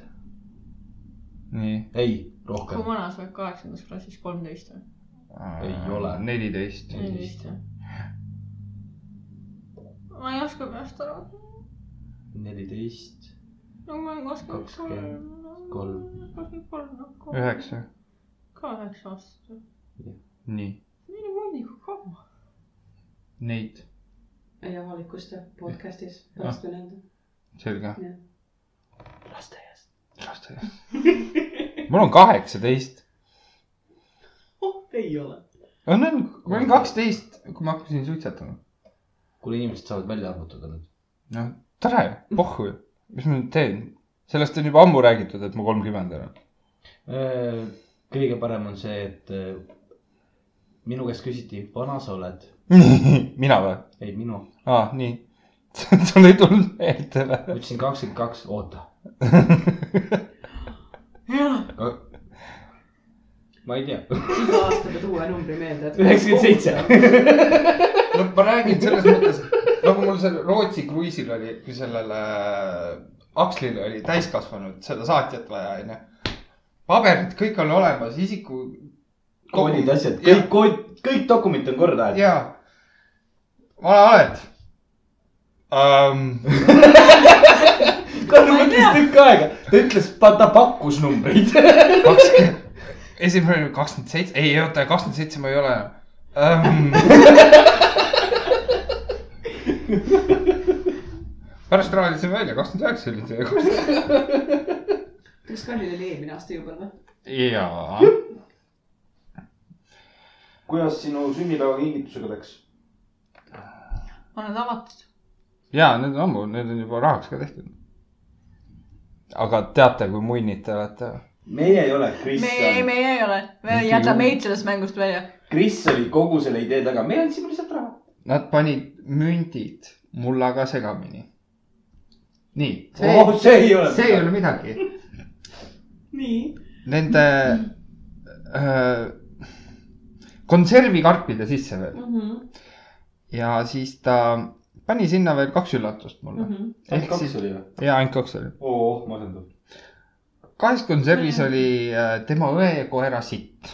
S1: nii .
S3: ei ,
S4: kui
S3: rohkem .
S4: vana sa oled kaheksandas klassis , kolmteist või ?
S3: Ei ole.
S1: neliteist .
S4: neliteist jah . ma ei oska peast arvata ,
S3: neliteist ,
S4: no ma ei oska .
S3: Kakskümmend kolm. .
S4: kakskümmend kolm , noh .
S1: üheksa .
S4: ka üheksa aastast või ?
S1: nii .
S4: mine muidugi nagu kaua .
S1: Neid .
S6: ei avalikusta podcast'is , laske nende .
S1: selge .
S6: lasteaias .
S1: lasteaias . mul on kaheksateist .
S6: oh , ei ole .
S1: on , on , ma olin kaksteist , kui ma hakkasin suitsetama .
S3: kuule , inimesed saavad välja arvutada nüüd .
S1: noh , tore , pohhu , mis ma nüüd teen ? sellest on juba ammu räägitud , et ma kolmkümmend olen .
S3: Äh, kõige parem on see , et äh, minu käest küsiti , vana sa oled ?
S1: mina või ?
S3: ei , minu .
S1: aa , nii . sul ei tulnud meelde või ?
S3: ma ütlesin kakskümmend kaks , oota . ma ei tea .
S6: iga aasta pead uue numbri meelde .
S3: 97. .
S1: no ma räägin selles mõttes , nagu mul seal Rootsi kruiisil oli , kui sellele Akslile oli täiskasvanud seda saatjat vaja , onju . paberid kõik on olemas , isiku .
S3: koodid , asjad , kõik kood , kõik dokument on korda aetud .
S1: ja , vana oled um, .
S3: Karl mõtles tükk aega , ta ütles , ta pakkus numbreid .
S1: kakskümmend , esimene oli kakskümmend seitse , ei oota , kakskümmend seitse ma ei ole Ehm. enam um, . pärast raadisin välja , kakskümmend üheksa oli see .
S6: kas Kallil oli eelmine aasta juba või ?
S1: jaa .
S3: kuidas sinu sünnipäeva kingitusega läks ?
S4: on nad avatud ?
S1: jaa , need on ammu , need on juba rahaks ka tehtud . aga teate , kui munnid te olete ?
S3: meie ei ole ,
S4: meie ,
S3: Kristjan .
S4: meie ei ole , me
S1: Mitte
S4: jäta
S1: küll.
S4: meid sellest mängust välja .
S3: Kris oli kogu selle idee taga , me andsime lihtsalt raha .
S1: Nad panid mündid mullaga segamini . nii , see oh, ,
S3: Oh, see ei ole .
S1: see ei ole midagi .
S6: nii .
S1: Nende äh, konservikarpide sisse veel
S6: Mhm.
S1: ja siis ta pani sinna veel kaks üllatust mulle . ehk
S3: Mhm. kaks
S1: siis ,
S3: oli või ?
S1: jaa , ainult kaks oli .
S3: oo , masendav .
S1: kahes konservis
S3: Mhm.
S1: oli äh, tema õe ja koera sitt .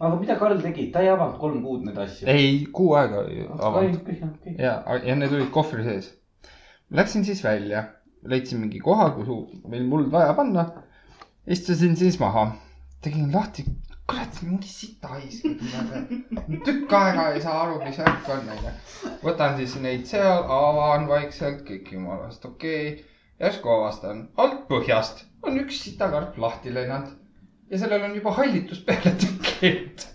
S3: aga mida Karl tegi , ta ei avanud kolm kuud neid asju .
S1: ei , kuu aega ei avanud .
S3: avanud .
S1: ja , ja need olid kohvri sees . Läksin siis välja , leidsin mingi koha , kuhu meil muld vaja panna . istusin siis maha , tegin lahti , kurat , mingi sita hais . tükk aega ei saa aru , mis värk on , onju . võtan siis neid seal , avan vaikselt , kõik jumalast okei okay. . järsku avastan , alt põhjast on üks sitakarp lahti lennanud ja sellel on juba hallitus peale tekkinud .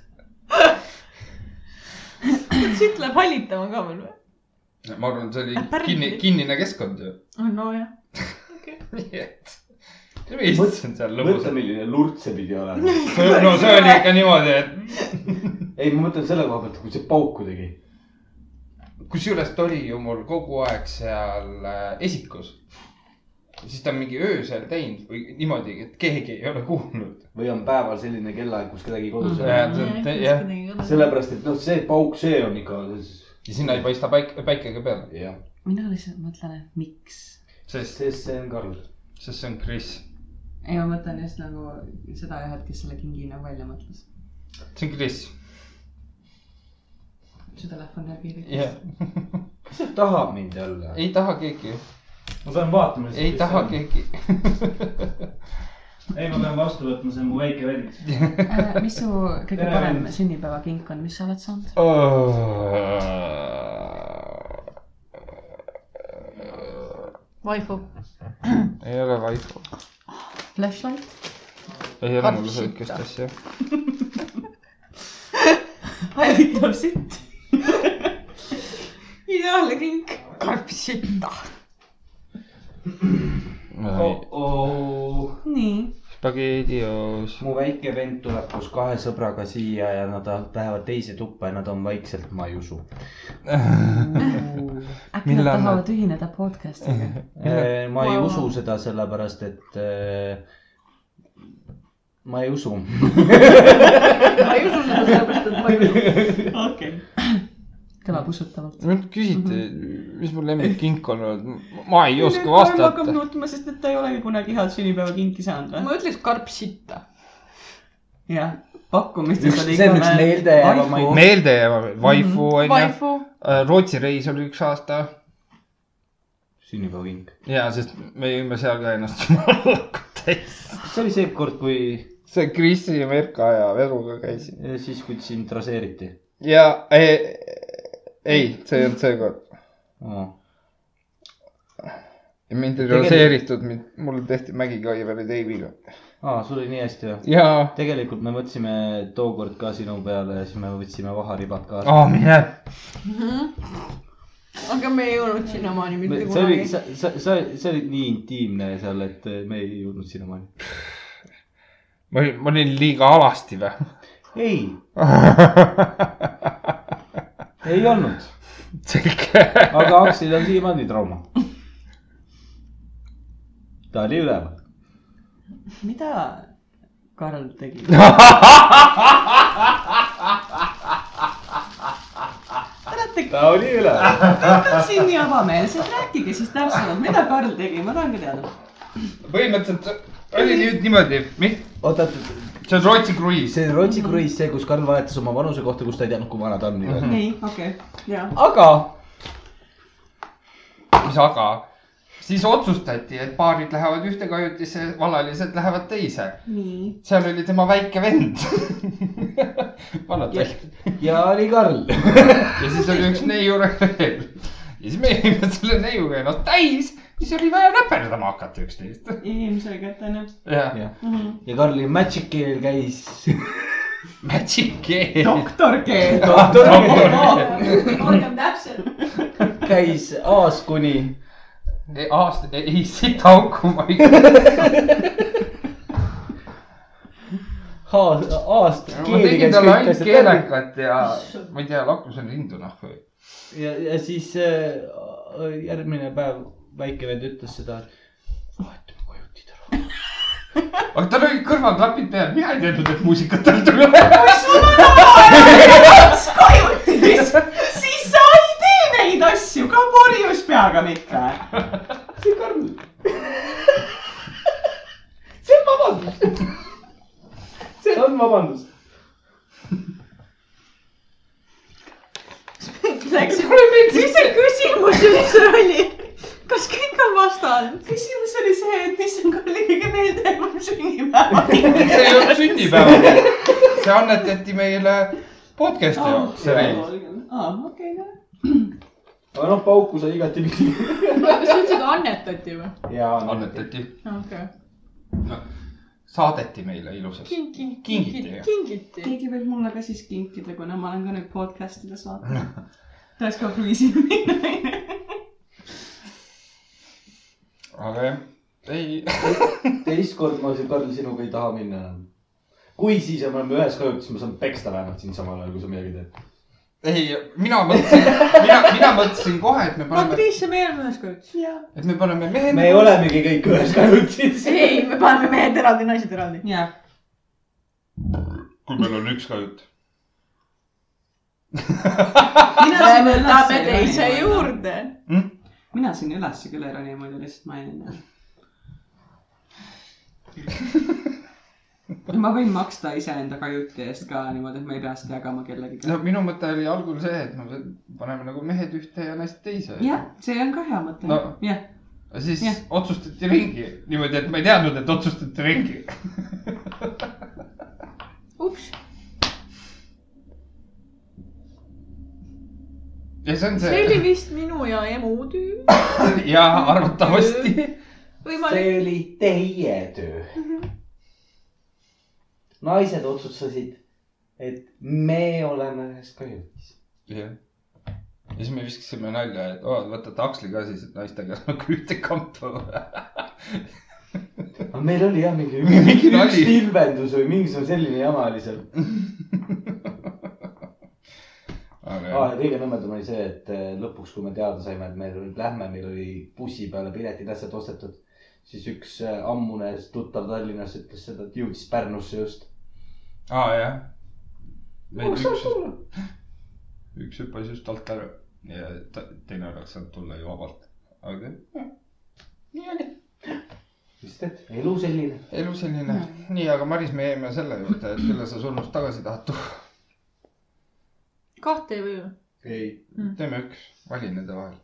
S4: siit läheb hallitama ka veel või ?
S1: ma arvan , see oli
S4: Pärn-
S1: kinni , kinnine keskkond ju .
S4: nojah .
S1: nii et , ma istusin seal
S3: mõtle ,
S1: lõbusalt .
S3: milline lurt see pidi olema .
S1: no see oli ikka niimoodi , et
S3: ei , ma mõtlen selle koha pealt , kui see pauku tegi .
S1: kusjuures ta oli ju mul kogu aeg seal äh, esikus . siis ta on mingi öösel teinud või niimoodi , et keegi ei ole kuulnud .
S3: või on päeval selline kellaaeg , kus kedagi kodus ei ole .
S4: Mm-hmm.
S1: Jah, te- jah. .
S3: sellepärast , et noh , see pauk , see on ikka ,
S1: ja sinna ei paista päike , päike ka peale ,
S3: jah .
S2: mina lihtsalt mõtlen , et miks .
S1: sest ,
S3: sest see on Karl .
S1: sest see on Kris .
S2: ei , ma mõtlen just nagu seda ühed , kes selle kingi nagu välja mõtles .
S1: see on Kris .
S2: su telefon läheb
S1: jah
S2: piiriks ..
S3: kas see tahab mind jälle ?
S1: ei taha keegi ,
S7: ma pean vaatama .
S1: ei taha . keegi .
S7: ei , ma pean vastu võtma , see on mu väike vend .
S2: Äh, mis su kõige
S7: Tere,
S2: parem
S7: Jens.
S2: sünnipäevakink on , mis sa oled saanud ?
S4: vaifu .
S1: ei ole vaipu .
S2: Flashlight ?
S1: ei ole mul
S4: Karp
S1: sihukest
S4: sitta.
S1: asja .
S2: hallitav sitt .
S4: ideaalne kink . karp sitta .
S3: oh-oh .
S2: nii .
S1: Spaghetti-os .
S3: mu väike vend tuleb koos kahe sõbraga siia ja nad lähevad teise tuppa ja nad on vaikselt , ma ei usu .
S2: äkki nad
S1: Millal nad-
S2: tahavad ühineda podcast'iga ?
S3: Äh, ma ei
S4: Wow.
S3: usu seda sellepärast , et eh, äh, ma ei usu .
S4: ma ei usu seda sellepärast , et ma ei usu .
S6: okei .
S2: kõlab usutavalt .
S1: nüüd küsite , mis mu lemmikkink on olnud , ma ei oska vastata
S6: hakkab . nutma , sest et ta ei olegi kunagi head sünnipäevakinki saanud või ?
S4: ma ütleks karp sitta .
S2: jah , pakkumistes
S3: Üks- see on üks meeldejäävamaid-
S2: Vaihu.
S1: meelde jääva ,
S4: Mhm.
S1: vaifu onju ,
S4: vaifu .
S1: Rootsi reis oli üks aasta
S3: sünnipäevakink .
S1: ja , sest me jõime seal ka ennast jumalaga täis .
S3: see oli see kord , kui ,
S1: see Krisi ja Merka ja Veruga käisin
S3: siis kui sind raseeriti .
S1: ja ei , ei , see ei olnud see kord . mind ei
S3: Tegelikult-
S1: raseeritud , mul tehti mägikaivari teibiga .
S3: aa , sul oli nii hästi või ?
S1: jaa .
S3: tegelikult me mõtlesime tookord ka sinu peale ja siis me võtsime vaharibad kaasa
S1: aa , mine .
S4: Mhm. aga me ei jõudnud sinnamaani
S3: Me-
S4: mitte
S3: see oli ,
S4: kunagi .
S3: sa , sa , sa , see oli nii intiimne seal , et eh, me ei jõudnud sinnamaani .
S1: ma olin , ma olin liiga alasti või ?
S3: ei , ei olnud ,
S1: selge .
S3: aga Aksil on siiamaani trauma . ta oli üleval .
S2: mida Karl tegi ?
S3: ta oli üleval .
S2: siin nii avameelselt , rääkige siis täpsemalt , mida Karl tegi , ma tahan ka teada .
S1: põhimõtteliselt oli nüüd niimoodi , see
S3: oota , oota ,
S1: on Rootsi kruiis .
S3: see Rootsi kruiis , see , kus Karl valetas oma vanuse kohta , kus ta ei teadnud , kui vana ta on .
S2: nii , okei okay. , ja .
S3: aga
S1: mis aga , siis otsustati , et paarid lähevad ühte kajutisse , valalised lähevad teise .
S2: nii .
S1: seal oli tema väike vend . vanad väiksed .
S3: ja oli Karl .
S1: ja siis oli üks neiu veel . ja siis me jõime selle neiuga ennast täis , siis oli vaja räperdama hakata üksteist .
S6: inimesele kätte onju .
S1: jah ,
S3: ja Karli magic keel käis .
S1: magic game .
S2: doktor G .
S6: olgem täpsed .
S3: käis A-s kuni
S1: aasta , E, ei sita auku ma ei tea .
S3: H-st , A-st .
S1: ma tegin talle ainult keelekat ja ma ei tea , lakkusin rindu noh .
S3: ja , ja siis äh, järgmine päev väike vend ütles seda , et vahetame kojutid ära .
S1: aga tal olid kõrvaklapid peal , mina ei teadnud , et muusikat tal tuleb .
S6: kajutis , siis sa ei tee neid asju ka purjus peaga mitte .
S3: see on vabandus .
S4: mis see küsimus üldse oli ? kas kõik on vastanud ?
S6: küsimus oli see , et mis on Karli kõige meeldejäävam sünnipäev .
S1: see ei olnud sünnipäev . see annetati meile
S6: Ah,
S1: podcast'i jaoks , see reis .
S6: aa , okei ,
S3: aga noh , pauku sai igatipidi .
S4: kas üldse ka annetati või ?
S3: ja
S1: annetati ,
S4: okei .
S1: saadeti meile ilusasti .
S4: kingiti .
S1: Kingiti.
S4: kingiti .
S6: keegi võib mulle ka siis kinkida , kuna ma olen ka nüüd podcast ides vaadanud . tahaks ka kruiisile minna .
S1: aga jah , ei
S3: teist korda ma ütlesin , Karl , sinuga ei taha minna enam . kui siis ja me oleme ühes kajutis , ma saan peksta vähemalt sind samal ajal , kui sa midagi teed .
S1: ei , mina mõtlesin , mina , mina mõtlesin kohe , et me
S4: aga
S1: paneme ,
S4: Kris ja meie oleme ühes kajutis .
S1: et me paneme mehed .
S3: me olemegi kõik ühes kajutis .
S4: ei , me paneme mehed eraldi , naised eraldi .
S2: ja ,
S1: kui meil on üks kajut .
S6: mina siin
S4: Läheme
S6: üles
S4: teise
S6: ei roni .
S4: juurde .
S6: mina siin üles küll ei roni , muidu lihtsalt mainin . ma võin maksta iseenda kajuti eest ka niimoodi , et ma ei pea seda jagama kellegagi .
S1: no minu mõte oli algul see , et me paneme nagu mehed ühte ja naised teise .
S6: jah , see on ka hea mõte
S1: No. .
S6: jah ,
S1: siis
S6: jah.
S1: otsustati ringi niimoodi , et ma ei teadnud , et otsustati ringi .
S4: ups ,
S1: ja see on
S4: see oli
S1: see
S4: vist minu ja emu töö .
S1: ja arvatavasti
S4: võimalik .
S3: oli teie töö . naised otsustasid , et me oleme ühes kajutis .
S1: jah . ja siis me viskasime nalja , et oo , võtate Aksli ka siis , et naistega nagu ühte kampa .
S3: aga meil oli jah mingi
S1: Mingi nali.
S3: pilvendus või mingisugune selline jama oli seal .
S1: aga jah ,
S3: aa ja kõige nõmedam oli see , äh, et eh, lõpuks , kui me teada saime , et me nüüd lähme , meil oli bussi peale piletid asjad ostetud . siis üks äh, ammune tuttav Tallinnas ütles seda , et jõudis Pärnusse just .
S1: aa jah .
S3: kus saab tulla ?
S1: üks hüppas just alt ära ja ta- teine oleks saanud tulla ju vabalt , aga
S3: mis teed , elu selline .
S1: elu selline .
S3: Mm.
S1: nii , aga Maris , me jäime selle juurde , et kelle sa surnust tagasi tahad tuua .
S4: kahte ei või ju .
S3: ei ,
S1: teeme üks , vali nende vahel .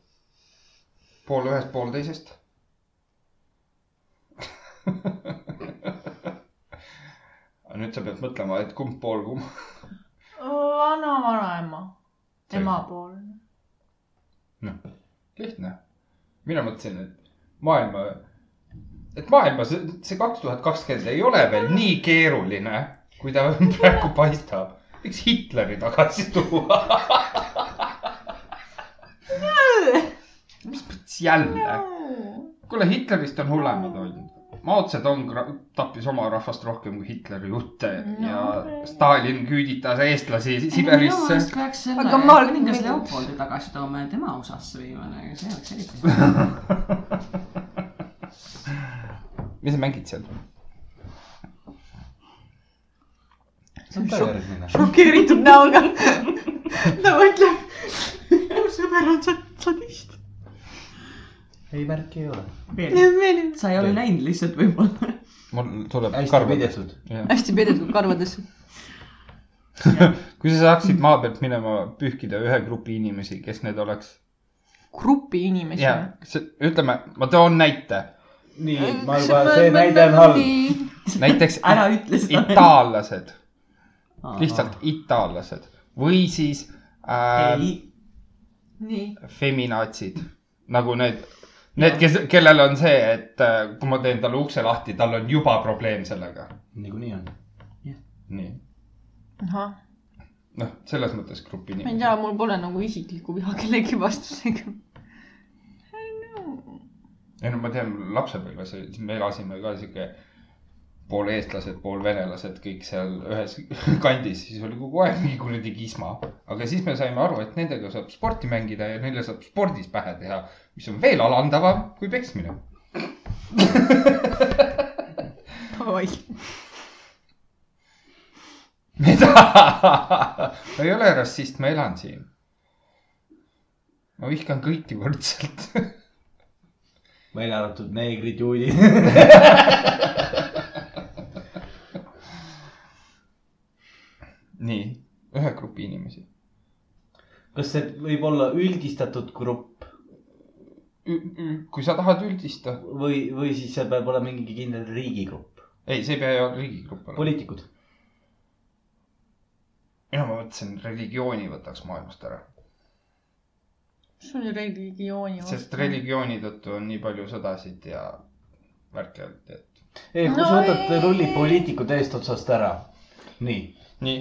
S1: pool ühest , pool teisest . aga Ah, nüüd sa pead mõtlema , et kumb pool kumb .
S4: vana vanaema , tema pool .
S1: lihtne . mina mõtlesin , et maailma , et maailma see , see kaks tuhat kakskümmend ei ole veel nii keeruline , kui ta praegu paistab . võiks Hitleri tagasi tuua . mis mõttes jälle ? kuule , Hitlerist on hullemad olnud . Mao Zedong ra- tappis oma rahvast rohkem kui Hitleri jutte
S4: No.
S1: ja Stalin küüditas eestlasi
S2: minu
S1: Siberisse .
S2: meelest peaks selle
S4: Aga ma-
S2: kuningas Leopoldi tagasi tooma ja tema USA-sse viima , see oleks eriti .
S1: mis sa mängid seal ?
S3: see on ka järgmine .
S4: šokeeritud näoga . ta mõtleb , mu sõber on sa- sadist .
S3: ei , märki ei ole .
S2: sa ei ole näinud lihtsalt võib-olla .
S1: mul tuleb
S3: hästi
S1: karvades
S3: pidetud .
S4: hästi peidetud karvadesse .
S1: kui sa saaksid maa pealt minema pühkida ühe grupi inimesi , kes need oleks ?
S4: grupi inimesi .
S1: ja see- ütleme , ma toon näite ,
S3: nii , ma juba , Äh, see näide on halb .
S1: näiteks
S2: ära ütle seda .
S1: itaallased , lihtsalt itaallased või siis äh,
S2: ei ,
S4: nii .
S1: feminaatsid nagu need , need , kes , kellel on see , et äh, kui ma teen talle ukse lahti , tal on juba probleem sellega .
S3: niikuinii on .
S1: nii ,
S4: ahah ,
S1: noh , selles mõttes grupi
S4: ma ei
S1: nimi .
S4: tea , mul pole nagu isiklikku viha kellegi vastu seega .
S1: ei no ma tean , lapsepõlves oli- me elasime ka sihuke pool eestlased , pool venelased , kõik seal ühes kandis , siis oli kogu aeg mingi kuradi kisma . aga siis me saime aru , et nendega saab sporti mängida ja neile saab spordis pähe teha , mis on veel alandavam kui peksmine .
S4: Davai .
S1: ma ei ole rassist , ma elan siin . ma vihkan kõiki võrdselt .
S3: välja arvatud neegrid , juudid .
S1: nii , ühe grupi inimesi .
S3: kas see võib olla üldistatud grupp
S1: kui sa tahad üldista ,
S3: või , või siis see peab olema mingi kindel riigigrupp ?
S1: ei , see ei pea ju riigigrupp olema .
S3: poliitikud .
S1: mina ma mõtlesin , religiooni võtaks maailmast ära ,
S4: see oli religiooni
S1: sest . religiooni tõttu on nii palju sõdasid ja värki olnud , et .
S3: ei , kui sa
S4: No
S3: võtad
S4: ei.
S3: rulli poliitikud eestotsast ära , nii ,
S1: nii ,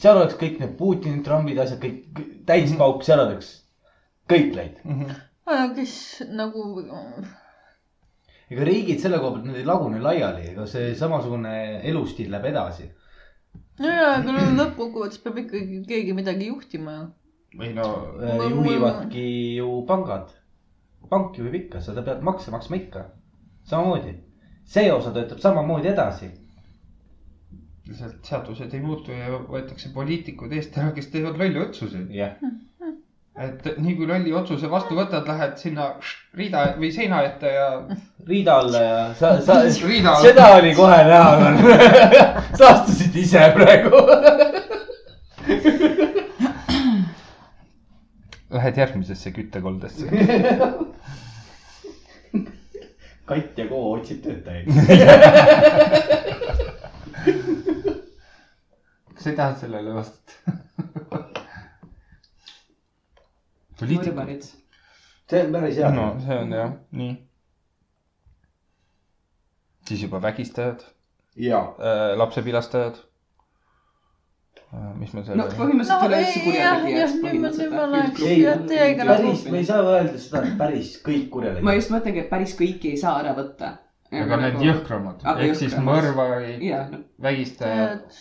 S3: seal oleks kõik need Putini trambid , asjad kõik kõ- täis pauk , seal oleks kõik läinud .
S4: kes nagu ,
S3: ega riigid selle koha pealt , need ei lagune laiali , ega see samasugune elustiil läheb edasi .
S4: nojah , aga lõ- lõppkokkuvõttes peab ikkagi keegi midagi juhtima ju .
S1: või no
S4: Ma-
S3: Äh, juhivadki ju pangad , pank juhib ikka , sa pead makse maksma ikka , samamoodi . see osa töötab samamoodi edasi .
S1: lihtsalt seadused ei muutu ja võetakse poliitikud eest ära , kes teevad lolle otsuseid .
S3: jah ,
S1: et nii kui lolli otsuse vastu võtad , lähed sinna riida või seina ette ja
S3: riida alla ja sa , sa ,
S1: riida .
S3: seda oli kohe näha , sa astusid ise praegu
S1: Lähed järgmisesse küttekoldesse .
S3: Katja Koo otsib töötajaid .
S1: kas sa ei taha sellele vastata ? poliitikud .
S2: mõrvarid .
S3: see on päris hea
S1: no see on jah , nii . siis juba vägistajad
S3: ja
S1: Äh, lapsepilastajad . mis me selle
S2: no põhimõtteliselt üleüldse kurjategijaks põhimõtteliselt .
S3: ei ,
S4: teiega nagu
S3: päris , me ei saa öelda seda , et päris kõik
S2: ma
S3: kurjategijad .
S2: just mõtlengi , et päris kõiki ei saa ära võtta . Nagu-
S1: aga need . jõhkramad
S2: Aga
S1: ehk siis
S2: jõhkramad.
S1: mõrvarid ,
S2: jaa .
S1: vägistajad ,
S2: noh.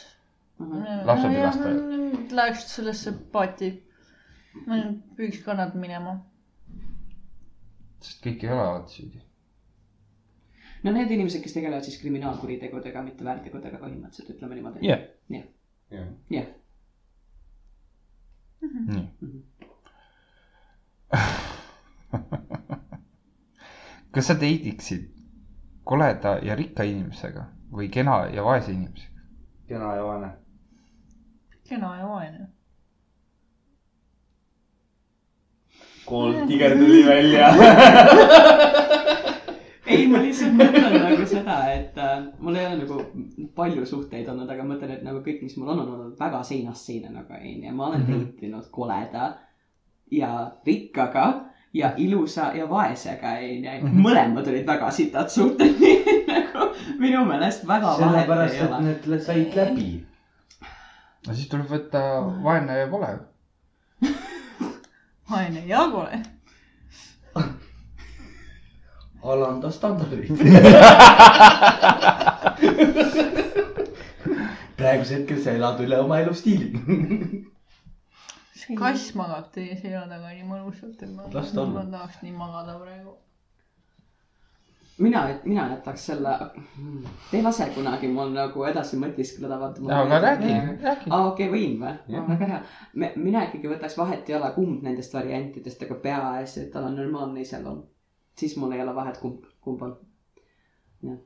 S4: Mm.
S1: Lapsepilastajad.
S4: lapsepilastajad . Läheks sellesse paati . ma nüüd püüaks ka nad minema .
S1: sest kõik ei ole alati süüdi .
S2: no need inimesed , kes tegelevad siis kriminaalkuritegudega , mitte väärtegudega põhimõtteliselt , ütleme niimoodi .
S8: Jah.
S2: jah ,
S1: jah .
S2: jah ,
S1: kas sa teidiksid koleda ja rikka inimesega või kena ja vaese inimesega ?
S5: kena ja vaene .
S4: kena ja vaene .
S5: kool tigerdati välja .
S2: ei , ma lihtsalt mõtlen nagu seda , et äh, mul ei ole nagu palju suhteid olnud , aga ma mõtlen , et nagu kõik , mis mul on , on olnud väga seinast seina nagu onju . ma olen
S1: Mhm.
S2: liitunud koleda ja rikkaga ja ilusa ja vaesega onju .
S1: Mhm.
S2: mõlemad olid väga sitad suhted , nii et nagu minu meelest väga vahet
S5: sellepärast ,
S2: ei
S5: et
S2: ole .
S5: need lä- said läbi .
S1: no siis tuleb võtta vaene ja vale .
S4: vaene ja kole .
S5: alanda standardit . praegusel hetkel sa elad üle oma elustiili .
S4: kass magab teie selja taga nii mõnusalt , et ma ,
S5: Las ta olla.
S4: ma tahaks nii magada praegu .
S2: mina , mina jätaks selle , te ei lase kunagi mul nagu edasi mõtiskleda , vaata .
S1: aga räägi , räägi .
S2: aa , Ah, okei , võin või ?
S1: Jah.
S2: väga hea . mina ikkagi võtaks vahet ei ole kumb nendest variantidest , aga peaasi , et tal on normaalne iseloom . siis mul ei ole vahet , kumb , kumb on . jah .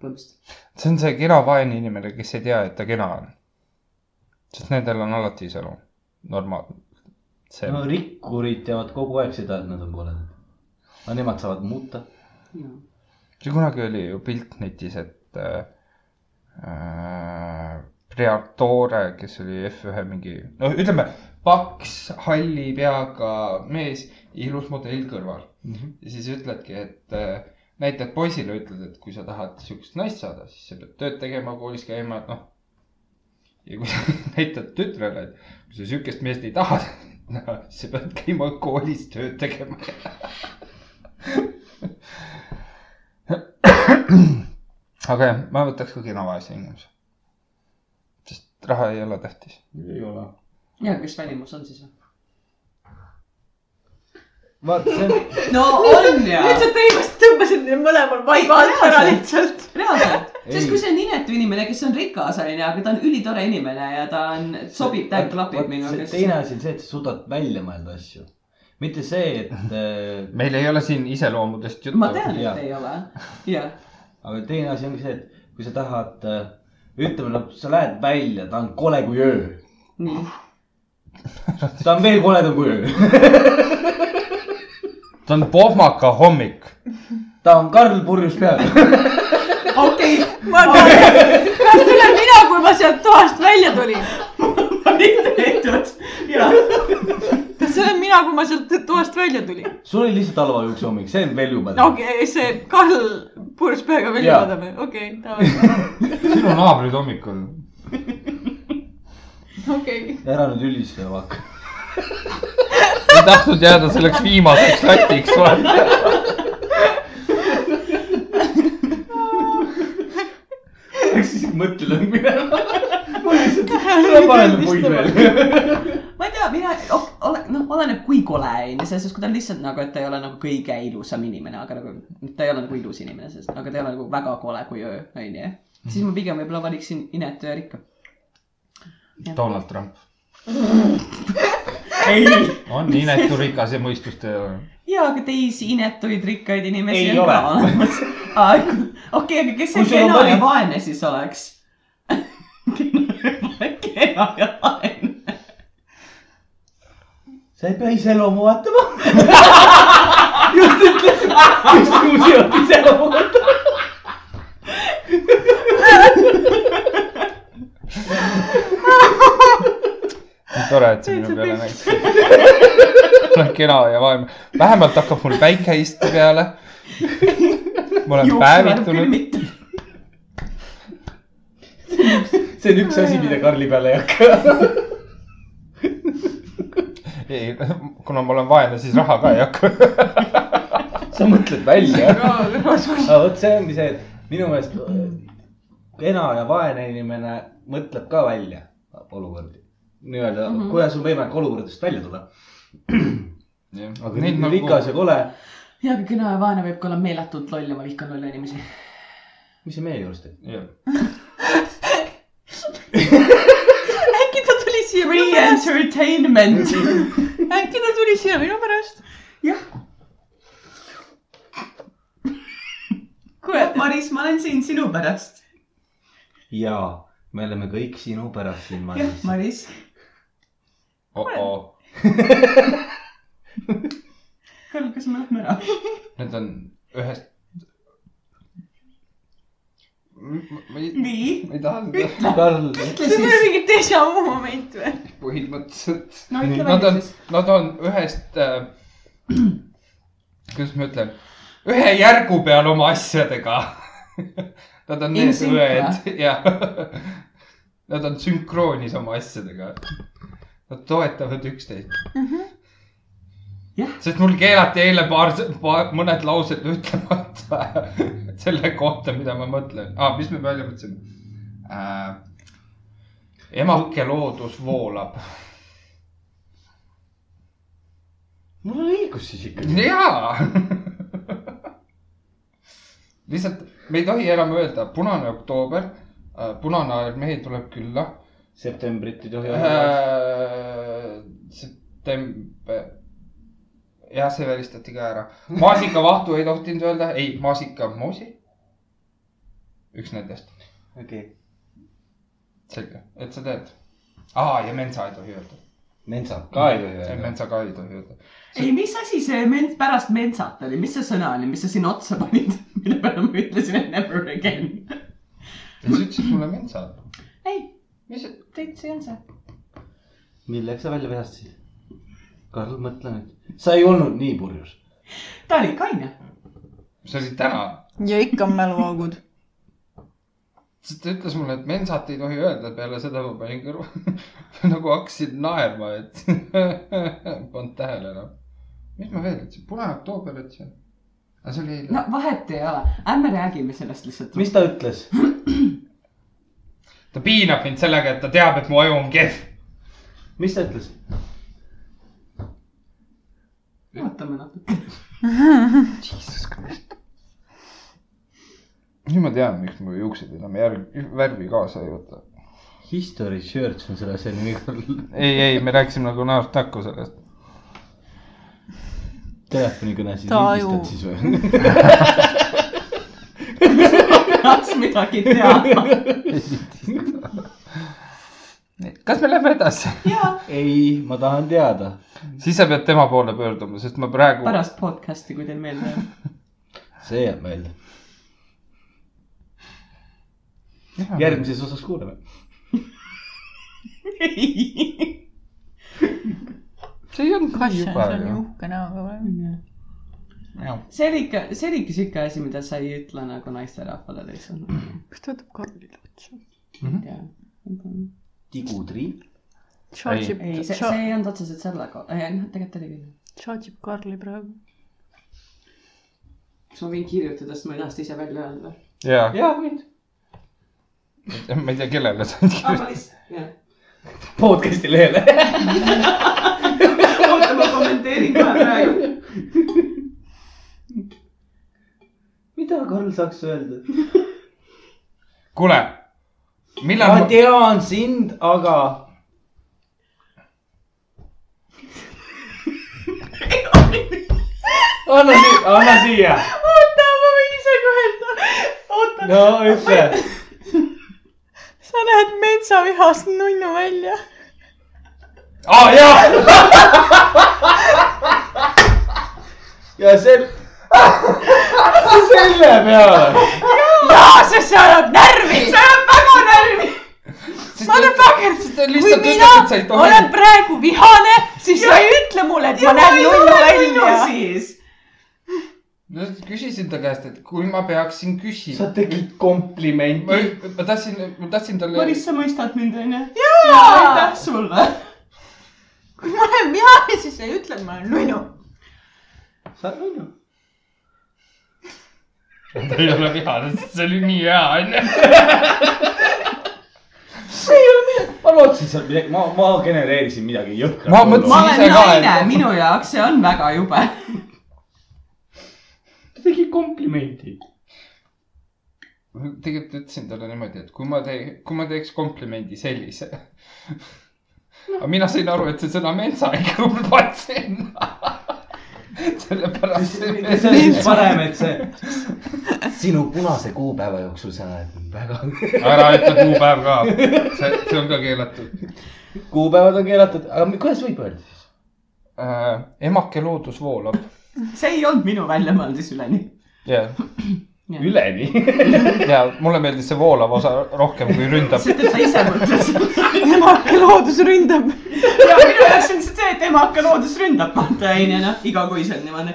S2: põhimõtteliselt .
S1: see on see kena vaene inimene , kes ei tea , et ta kena on . sest nendel on alati iseloom , normaalne . see
S3: no
S1: no, ,
S3: rikkurid teavad kogu aeg seda , et nad on koledad . aga nemad saavad muuta .
S1: see kunagi oli ju pilt netis , et äh, äh, Priatore , kes oli F1 mingi , no ütleme , paks halli peaga mees , ilus modell kõrval mm . -hmm. ja siis ütledki , et äh, näitad poisile , ütled , et kui sa tahad siukest naist saada , siis sa pead tööd tegema , koolis käima , noh . ja kui sa näitad tütrele , et kui sa siukest meest ei taha , siis sa pead käima koolis tööd tegema . aga jah , ma võtaks ka kena vaese inimese . sest raha ei ole tähtis .
S5: ei ole .
S2: ja kes välimus on siis või ?
S5: vaata , see on ,
S2: no on ja .
S4: nüüd sa tõimast tõmbasid neil mõlemal vaiba alt ära lihtsalt .
S2: reaalselt ,
S5: Ei.
S2: sest kui see on inetu inimene , kes on rikas onju , aga ta on ülitore inimene ja ta on , sobib , ta klapib minuga .
S3: teine asi on see , et sa suudad välja mõelda asju , mitte see , et äh,
S1: meil ei ole siin iseloomudest juttu .
S2: ma tean ,
S3: Jaa.
S2: et ei ole . jah ,
S3: aga teine asi ongi see , et kui sa tahad , ütleme , no sa lähed välja , ta on kole kui öö .
S2: nii .
S3: ta on veel koledam kui öö .
S1: ta on pohmaka hommik .
S3: ta on Karl purjus peal .
S2: okei ,
S4: ma arvan , et kas tulen mina , kui ma sealt toast välja tulin ?
S2: ma nüüd tehtud . jah .
S4: kas see olen mina , kui ma sealt toast välja tulin ?
S3: sul oli lihtsalt halvajuks hommik , see on veel jubedam
S4: okei okay, , see Karl purjus peaga välja
S3: Jaa.
S4: vaatame , okei okay, , davai ,
S1: sinu naabrid hommikul .
S4: okei okay. .
S3: ära nüüd ülista , Vak .
S1: ei tahtnud jääda selleks viimaseks latiks , vaata .
S5: eks siis mõtled , et minema . ma lihtsalt , ma panen puid veel .
S2: ma ei tea , mina , ole , noh , oleneb kui kole on ju , selles suhtes , kui ta on lihtsalt nagu , et ta ei ole nagu kõige ilusam inimene , aga nagu ta ei ole nagu ilus inimene , sest aga ta ei ole nagu väga kole kui öö , on ju . siis ma pigem võib-olla valiksin inetu ja rikka .
S1: Donald Trump .
S5: ei ,
S1: on inetu rikas ja mõistust ei ole .
S2: ja , aga teisi inetuid rikkaid inimesi
S5: Ei
S2: on ka
S5: ole.
S2: olemas . okei , aga kes see
S5: sul on
S2: kena ja
S5: valik-
S2: vaene siis oleks ? kena ja vaene .
S3: sa ei pea iseloomu vaatama .
S5: just kui sealt ise loomulikult .
S1: tore , et sa minu peale näitasid . olen kena ja vaene . vähemalt hakkab mul päike istu peale . ma olen päevitunud .
S5: see on üks asi , mida Karli peale ei hakka .
S1: ei , kuna ma olen vaene , siis raha ka ei hakka .
S5: sa mõtled välja .
S3: aga vot see ongi see , et minu meelest kena ja vaene inimene mõtleb ka välja olukordi . nii-öelda mm -hmm. , kuidas on võimalik olukordadest välja tulla .
S1: Neid
S3: aga rikas ja kole
S2: hea , aga kõne ja vaene võib ka olla meeletult loll ja ma vihkan lolle inimesi .
S3: mis see meie juures teeb ?
S1: jah ,
S4: äkki ta tuli siia minu pärast ,
S2: Re-entertainment .
S4: äkki ta tuli siia minu pärast .
S6: Jah. .
S4: kurat ,
S6: Maris , ma olen siin sinu pärast .
S3: jaa , me oleme kõik sinu pärast siin
S6: jah ,
S3: maailmas .
S6: Maris .
S1: Oh,
S3: oh-oo .
S6: Karl , kas me lähme ära ?
S1: need on ühest . ma ei ,
S6: nii .
S1: ma ei taha seda
S3: Karl ,
S4: see on mingi déjà vu moment või ?
S1: põhimõtteliselt .
S6: no ütle
S1: Nad
S6: välja
S1: on
S6: siis .,
S1: nad on ühest äh, , kuidas ma ütlen , ühe järgu peal oma asjadega . Nad on
S2: In
S1: need
S2: sync,
S1: õed , jah . Nad on sünkroonis oma asjadega . Nad toetavad üksteist mm .
S2: Jah.
S1: -hmm. sest mul keelati eile paar, paar , mõned laused ütlemata selle kohta , mida ma mõtlen ah, . mis me välja mõtlesime äh, ? emake loodus voolab .
S3: mul on õigus siis ikka .
S1: jaa . lihtsalt me ei tohi enam öelda punane oktoober , punane armee tuleb külla
S3: septembrit ei tohi olla .
S1: äh, . september , jah , see välistati ka ära . maasikavahtu ei tohtinud öelda , ei maasikamoosi . üks nendest ,
S3: okei ,
S1: selge , et sa tead . aa , ja mensa ei tohi öelda ,
S3: mentsa ka ei tohi öelda .
S1: mensa ka ei tohi öelda .
S2: ei , mis asi see men- , pärast mensat oli , mis see sõna oli , mis sa sinna otsa panid , mille peale ma ütlesin , et never again .
S1: ja sa ütlesid mulle mensa .
S2: ei ,
S1: mis ,
S2: tegelikult see on see .
S3: milleks sa välja vihastasid ? Karl , mõtle nüüd . sa ei olnud nii purjus .
S2: ta oli kaine .
S1: see oli täna
S4: ja ikka on mäluaugud .
S1: siis ta ütles mulle , et mensat ei tohi öelda , peale seda ma panin kõrva , nagu hakkasin naerma , et polnud tähele enam . mis ma veel ütlesin , punane oktoober ütlesin . aga see oli eile
S2: no . vahet ei ole , ärme räägime sellest lihtsalt .
S3: mis ta ütles ?
S1: ta piinab mind sellega , et ta teab , et mu aju on kehv .
S3: mis ta ütles ?
S2: ootame natuke .
S1: nüüd ma tean , miks mu juuksed enam järg , värvi kaasa ei võta .
S3: History Church on selle asja nimi , Karl .
S1: ei , ei , me rääkisime nagu näost näkku sellest .
S3: telefonikõne siis
S4: Ta ju-
S3: lindistad siis või ?
S2: tahaks midagi teada .
S1: kas me lähme edasi ?
S3: ei , ma tahan teada .
S1: siis sa pead tema poole pöörduma , sest ma praegu .
S2: pärast podcast'i , kui teil meelde jääb .
S3: see jääb meelde . järgmises osas kuuleme .
S1: see ei olnud nii
S4: kass on
S1: juba
S4: seal
S1: ju .
S4: uhke näoga või ?
S2: see oli ikka , see oli ikka siuke asi , mida sa ei ütle nagu naisterahvale lihtsalt .
S6: Mhm.
S4: kas ta võtab Karlile otsa ?
S2: ma ei tea .
S3: tigutrii .
S4: Charge'ib ,
S2: ei , see , see ei olnud otseselt selle kohta , noh , tegelikult oli küll .
S4: charge'ib Karli praegu .
S2: kas ma võin kirjutada , sest ma ei taha seda ise välja öelda .
S1: jaa ,
S3: jaa , mind .
S1: ma ei tea , kellele sa oled kirjutanud .
S2: jah .
S3: podcast'i lehele .
S2: oota , ma kommenteerin kohe praegu .
S3: mida Karl saaks öelda ?
S1: kuule , millal
S3: ma
S1: ma... ,
S3: tean sind , aga . anna siia , anna siia .
S4: oota , ma võin ise ka öelda . oota ,
S3: no ütle .
S4: sa näed metsavihast nunnu välja .
S1: aa jaa ,
S3: ja see . selle peale .
S4: jaa , sest sa oled närvi . sa oled väga närvi . Motherfucker , kui
S1: lihtsalt
S4: mina
S1: ütled , et sa ei tohi
S4: olen praegu vihane , siis sa ei ütle mulle , et ma näen nunnu välja .
S2: siis .
S1: no küsisin ta käest , et kui ma peaksin küsima
S3: sa . tegid komplimendi .
S1: ma , ma tahtsin , ma tahtsin talle ,
S6: Maris , sa mõistad mind , onju ?
S4: jaa ,
S6: aitäh sulle .
S4: kui ma olen vihane , siis sa ei ütle , et ma olen nunnu .
S3: sa oled nunnu .
S1: ta ei ole vihane , sest see oli nii hea onju .
S3: ma lootsin sealt midagi , ma , ma genereerisin midagi jõhkrat .
S1: Ma mõtlesin-
S2: ma
S1: Ise
S2: olen
S1: ka,
S2: naine
S1: et- ,
S2: minu jaoks see on väga jube .
S5: komplimendi .
S1: tegelikult ütlesin talle niimoodi , et kui ma tee- , kui ma teeks komplimendi sellise . aga mina sain aru , et see sõna mentsa ei kõlba sinna . sellepärast
S3: see see on siis parem , et see sinu punase kuupäeva jooksul sa oled väga .
S1: ära ütle kuupäev ka , see , see on ka keelatud
S3: kuupäevad on keelatud , aga mi- kuidas võib öelda siis ?
S1: äh, . emake loodus voolab .
S2: see ei olnud minu väljamõeldis üleni .
S1: jah
S3: üleni .
S1: ja mulle meeldis see voolav osa rohkem kui ründab .
S2: sest et ta ise mõtles .
S6: emake loodus ründab .
S2: ja minu jaoks on lihtsalt see , et emake loodus ründab , vaata onju noh , igakuiselt niimoodi .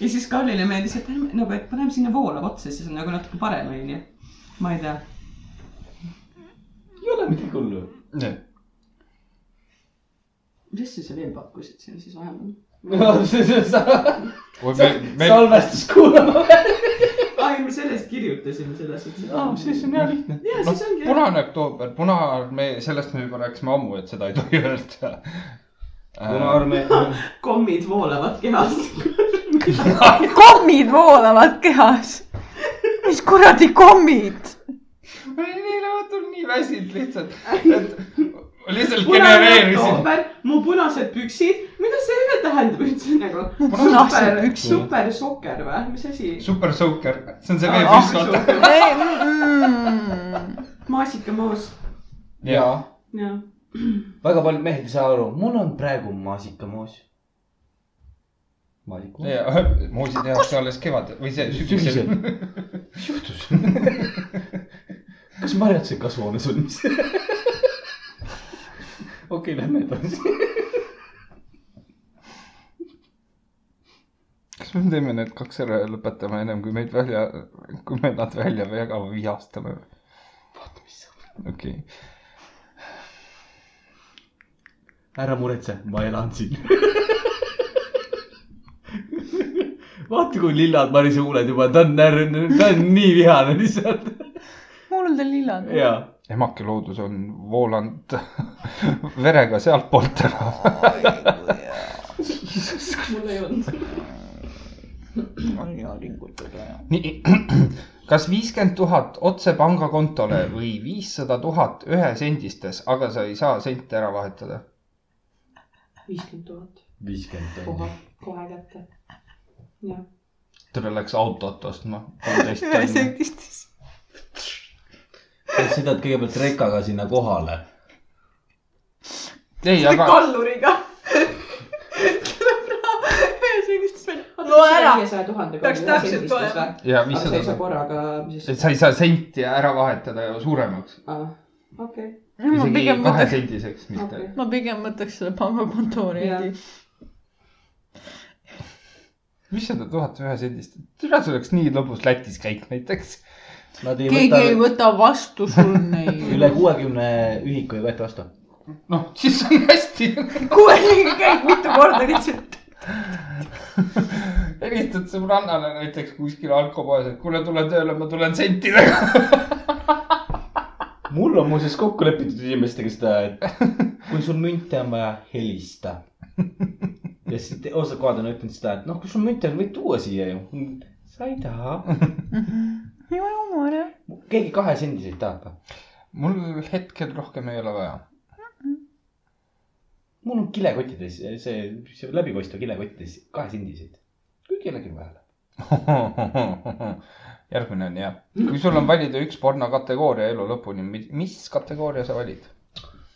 S2: ja siis Karlile meeldis , et ärme- nagu , et paneme sinna voolav otsa , siis on nagu natuke parem onju . ma ei tea .
S5: ei ole midagi hullu .
S2: mis asja sa veel pakkusid siin siis vahepeal ?
S5: salvestus kuulama .
S2: aa , ei me sellest kirjutasime , selles suhtes .
S5: siis on hea lihtne .
S2: ja siis ongi .
S1: noh, punane oktoober , punaarmee , sellest me juba rääkisime ammu , et seda ei tohi öelda . Äh,
S3: punaarmee .
S2: kommid voolavad kehast .
S4: kommid voolavad kehas . mis kuradi kommid ?
S1: ma olin eile õhtul nii väsinud lihtsalt , et ma lihtsalt genereerisin .
S2: mu punased püksid , mida see üldse tähendab üldse nagu ?
S1: Punased
S2: super , üks super sokker või , mis asi ?
S1: super Soaker , see
S2: Ah,
S1: on see veebis , vaata .
S4: mm.
S2: maasikamaus ,
S1: jaa .
S2: jah .
S3: väga paljud mehed ei saa aru , mul on praegu maasikamoos . maasikamoos .
S1: ja muusi tehakse alles kevadel või see sügisel .
S3: sügisel . mis juhtus ? kas marjad said kasvuhoones valmis ? okei , lähme edasi .
S1: kas me teeme need kaks ära ja lõpetame ennem kui meid välja , kui me nad välja jagame , vihastame või ? vaata , mis saab . okei okay. ,
S3: ära muretse , ma elan siin . vaata , kui lillad Marise huuled juba , ta on , ta on nii vihane lihtsalt .
S4: mullad on lillad .
S3: jaa .
S1: emake loodus on voolanud verega sealtpoolt ära .
S2: mul ei olnud .
S4: on hea pingutada ja .
S1: nii , kas viiskümmend tuhat otse pangakontole või viissada tuhat ühesendistes , aga sa ei saa sente ära vahetada ?
S6: viiskümmend tuhat ,
S3: viiskümmend
S6: kohe , kohe kätte .
S1: tule läks autot ostma , poolteist tonni .
S4: ühesõidistis .
S3: sõidad kõigepealt rekaga sinna kohale .
S1: ei , aga
S4: kalluriga . ühesõidistis veel . loe ära .
S6: viiesaja tuhandega .
S4: Peaks täpselt olema. .
S1: ja
S6: aga sa ei saa
S1: viissada ,
S6: korraga , mis siis ,
S1: et sa ei saa senti ära vahetada ju suuremaks ,
S6: okei ,
S4: ma
S1: isegi
S4: pigem mõtleks ,
S1: kahesendiseks mitte
S6: okei .
S4: ma pigem mõtleks selle pangakontori
S6: Jah.
S4: endi .
S1: viissada tuhat ühesendist , tule see oleks nii lõbus Lätis käik näiteks .
S3: Nad ei
S4: keegi ei
S3: võta ,
S4: võta vastu sul neid .
S3: üle kuuekümne ühiku ei võeta vastu .
S1: noh , siis on hästi .
S4: kuueliga käid mitu korda lihtsalt .
S1: helistad sõbrannale näiteks kuskil alkopoes , et kuule , tule tööle , ma tulen sentidega .
S3: mul on muuseas kokku lepitud inimestega seda , et kui sul münte on vaja , helista . ja siis te- osad kohad on ütelnud seda , et noh , kui sul münte on , võid tuua siia ju . sa ei taha .
S4: minu jumal jah .
S3: keegi kahesendiseid tahab või ?
S1: mul hetkel rohkem ei ole vaja .
S3: mul on kilekottides see, see läbikostva kilekottides kahesendiseid , kui kellelgi on vaja .
S1: järgmine on hea . kui sul on valida üks pornokategooria elu lõpuni , mis kategooria sa valid ?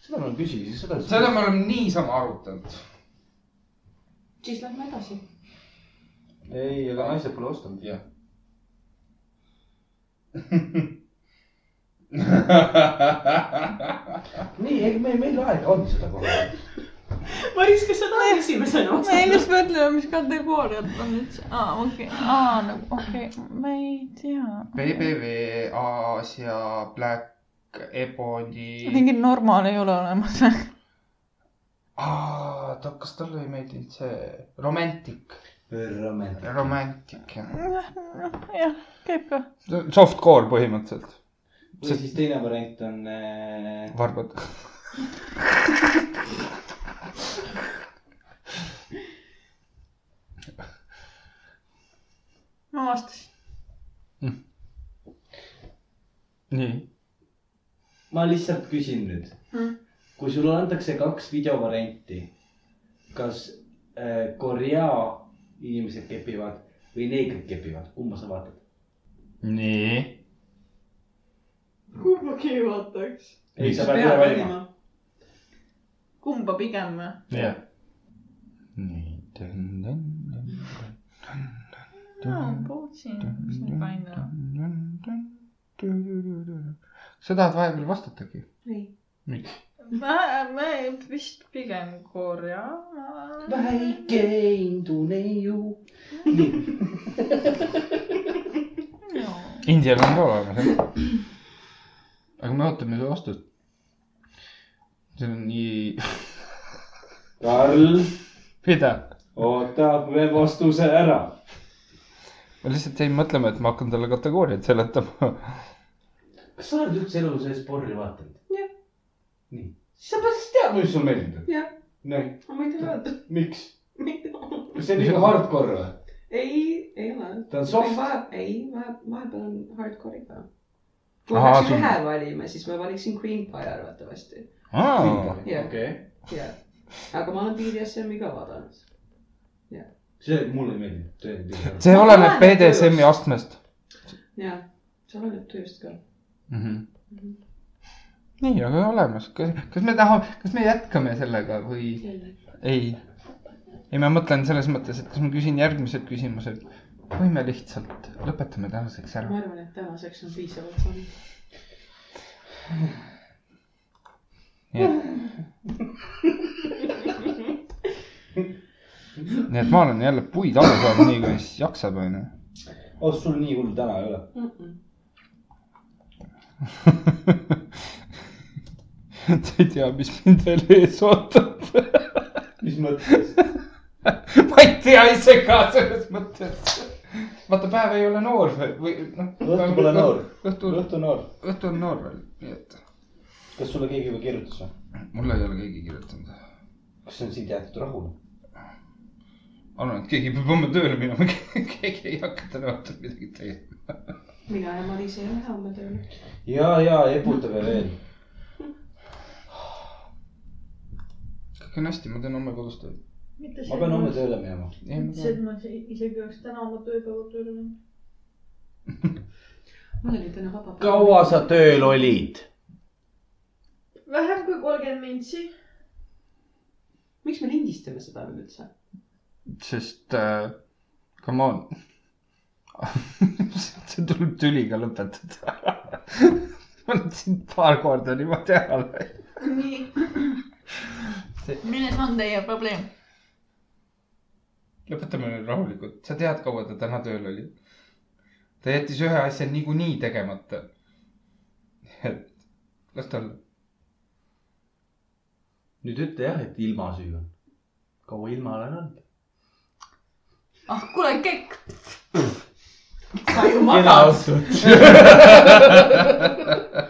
S3: seda ma küsin , seda .
S1: seda me oleme niisama arutanud .
S6: siis lähme edasi .
S3: ei , aga naised pole ostnud ja . nii , ei meil , meil aega on seda kohe .
S2: Maris , kas sa tahad esimesena
S4: me
S2: vastata ?
S4: just mõtleme , mis kategooriad on üldse . aa , okei , aa nagu okei okay. , ma ei tea .
S1: BBV , Aasia , Black Ebony .
S4: mingi normaal ei ole olemas .
S1: ta , kas talle ei meeldinud see romantik , romantik jah .
S4: jah , käib ka .
S1: Softcore põhimõtteliselt ,
S5: või siis teine variant on äh,
S1: varbad .
S4: ma vastasin .
S3: ma lihtsalt küsin nüüd
S2: Hm?
S4: Mm. .
S3: kui sulle antakse kaks videovarianti , kas äh, Korea inimesed kepivad või neegrid kepivad , kumba sa vaatad ?
S1: nii .
S4: kumbagi ei vaataks .
S3: ei , sa pead ühe
S2: peab
S3: valima .
S2: valima .
S4: kumba pigem või ?
S1: jah . nii .
S4: aa , Bootsin , Ah, mis nüüd panna .
S1: sa tahad vahepeal vastatagi ?
S4: ma , ma vist pigem Korea .
S3: väike induneiu .
S1: Indial on ka olemas , jah . aga me ootame su vastust . see on nii ,
S3: Karl
S1: mida ?
S3: ootab veel vastuse ära .
S1: ma lihtsalt jäin mõtlema , et ma hakkan talle kategooriaid seletama .
S3: kas sa oled üldse elu sees porri vaadanud ?
S2: Jah.
S3: nii , siis sa pead siis teadma , mis sulle meeldib .
S2: Jah.
S3: nii ,
S2: aga ma ei tea öelda .
S3: miks ? kas see on liiga hardcore või ?
S2: ei , ei ole .
S3: ta on
S2: ei
S3: soft .
S2: vahe , ei vahe , vahepeal on hardcore'i ka . kui
S1: Ahaa,
S2: Aha,
S1: sul-
S2: peaks ühe valima , siis ma valiksin Green Pie arvatavasti , Jah.
S3: okei .
S2: jah . aga ma olen BDSM-i ka vaadanud .
S3: see mulle meeldib , tõenäoliselt .
S1: see
S2: Ma
S1: oleneb
S2: lähen
S1: BDSM-i
S2: tööst.
S1: astmest
S2: jah , see oleneb tööst ka .
S1: mm . -hmm. nii , aga olemas , kas , kas me tahame , kas me jätkame sellega või ei ? ei , ma mõtlen selles mõttes , et kas ma küsin järgmised küsimused või me lihtsalt lõpetame tänaseks ära
S2: ma . arvan , et tänaseks on piisavalt saanud .
S1: nii et ma olen jälle puid alla saanud , nii kui siis jaksab , onju .
S3: oh , sul nii hull täna ei ole .
S1: sa ei tea , mis mind veel ees ootab .
S3: mis mõttes ?
S1: ma ei tea ise ka selles mõttes . vaata , päev ei ole noor veel või noh .
S3: Õhtu pole noor.
S1: õhtu ,
S3: õhtu noor ,
S1: õhtu on noor veel , nii et
S3: kas sulle keegi juba kirjutas või ?
S1: mulle ei ole keegi kirjutanud .
S3: kas see on sind jäetud rahule ?
S1: arvan , et keegi peab homme tööle minema , keegi ei hakka täna õhtul midagi tegema .
S2: mina ja Maris ei lähe homme tööle .
S3: ja , ja eputage veel .
S1: kõik on hästi , ma teen homme kodus tööd .
S3: ma pean homme tööle minema .
S4: see , et ma ise- isegi oleks täna oma tööpäeva tööle läinud .
S2: mul oli täna vaba päev .
S3: kaua sa tööl olid ?
S4: vähem kui kolmkümmend mintsi .
S2: miks me lindistame seda veel üldse ?
S1: sest äh, come on see tuleb tüliga lõpetada ma olen sind paar korda niimoodi ära löönud
S4: nii
S1: See- .
S4: milles on teie probleem ?
S1: lõpetame nüüd rahulikult sa tead kaua ta täna tööl oli ta jättis ühe asja niikuinii tegemata et las ta olla
S3: nüüd ütle jah , et ilma süü on . kaua ilma olen olnud ?
S4: ah , kuule , kekk .
S3: kena õhtut .